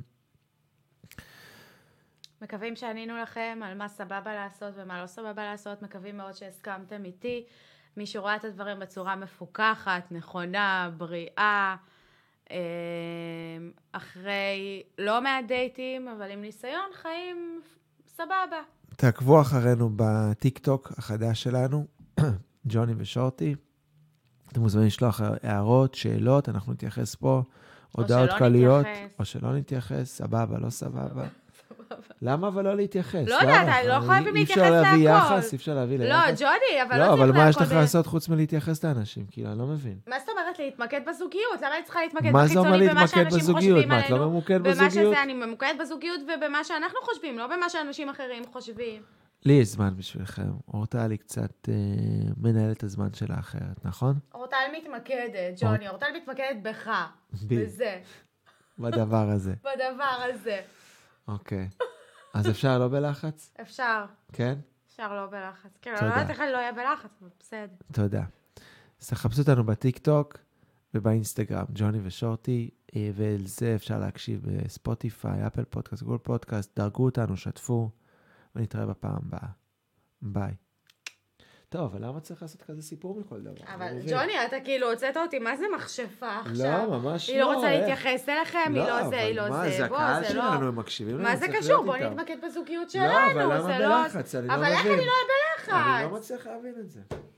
Speaker 2: מקווים שענינו לכם על מה סבבה לעשות ומה לא סבבה לעשות, מקווים מאוד שהסכמתם איתי. מי שרואה את הדברים בצורה מפוקחת, נכונה, בריאה, אמ, אחרי לא מעט דייטים, אבל עם ניסיון, חיים סבבה.
Speaker 1: תעקבו אחרינו בטיקטוק החדש שלנו, ג'וני ושורטי. אתם מוזמנים לשלוח הערות, שאלות, אנחנו נתייחס פה, הודעות
Speaker 2: שלא
Speaker 1: קוליות.
Speaker 2: נתייחס.
Speaker 1: או שלא נתייחס, סבבה, לא סבבה. למה אבל לא להתייחס?
Speaker 2: לא
Speaker 1: למה?
Speaker 2: יודעת, לא חייבים
Speaker 1: אי אפשר
Speaker 2: להתייחס
Speaker 1: להביא
Speaker 2: להכל.
Speaker 1: יחס, אי אפשר להביא
Speaker 2: לא,
Speaker 1: ליחס.
Speaker 2: ג'ודי, אבל לא
Speaker 1: לא,
Speaker 2: צריך
Speaker 1: אבל מה יש
Speaker 2: להכל
Speaker 1: לך
Speaker 2: ב-
Speaker 1: לעשות חוץ מלהתייחס לאנשים? כאילו, אני לא מבין.
Speaker 2: מה זאת אומרת להתמקד בזוגיות? למה אני צריכה להתמקד
Speaker 1: מה זה אומר
Speaker 2: בחיצוני, אוקיי, במה
Speaker 1: להתמקד
Speaker 2: שאנשים
Speaker 1: בזוגיות?
Speaker 2: חושבים
Speaker 1: מה, את לא
Speaker 2: עלינו?
Speaker 1: ממוקד
Speaker 2: במה
Speaker 1: בזוגיות?
Speaker 2: שזה, אני ממוקדת בזוגיות ובמה שאנחנו חושבים, לא במה שאנשים אחרים חושבים.
Speaker 1: לי יש זמן בשבילכם. אורטל היא קצת אה, מנהלת את הזמן שלה אחרת, נכון?
Speaker 2: אורטל מתמקדת, ג'וני, אורטל מתמקדת בך.
Speaker 1: אוקיי. בי.
Speaker 2: בזה.
Speaker 1: בדבר הזה.
Speaker 2: בדבר הזה.
Speaker 1: אוקיי. אז אפשר לא בלחץ?
Speaker 2: אפשר.
Speaker 1: כן?
Speaker 2: אפשר לא בלחץ. כן,
Speaker 1: תודה.
Speaker 2: אני לא יודעת איך אני לא אהיה בלחץ, אבל בסדר.
Speaker 1: תודה. אז תחפשו אותנו בטיקטוק ובאינסטגרם, ג'וני ושורטי, אה, ועל זה אפשר להקשיב בספוטיפיי, אפל פודקאסט, גול פודקאסט, דרגו אותנו, שתפו, ונתראה בפעם הבאה. ביי. טוב, אבל למה צריך לעשות כזה סיפור מכל דבר?
Speaker 2: אבל
Speaker 1: אני לא מבין.
Speaker 2: ג'וני, אתה כאילו הוצאת אותי, מה זה מכשפה עכשיו?
Speaker 1: לא, ממש לא.
Speaker 2: היא לא רוצה
Speaker 1: איך?
Speaker 2: להתייחס אליכם, היא לא זה, היא לא
Speaker 1: אבל מה,
Speaker 2: זה,
Speaker 1: זה
Speaker 2: בוא,
Speaker 1: הקהל
Speaker 2: זה לא.
Speaker 1: שלנו, הם מקשיבים לנו,
Speaker 2: מה זה
Speaker 1: צריך
Speaker 2: קשור?
Speaker 1: להיות
Speaker 2: בוא
Speaker 1: איתם.
Speaker 2: נתמקד בזוגיות
Speaker 1: לא,
Speaker 2: שלנו,
Speaker 1: אבל למה
Speaker 2: זה לא...
Speaker 1: בלחץ? אני לא
Speaker 2: אבל איך
Speaker 1: מבין.
Speaker 2: אני לא אהיה
Speaker 1: אני לא
Speaker 2: בלחץ?
Speaker 1: מצליח להבין את זה.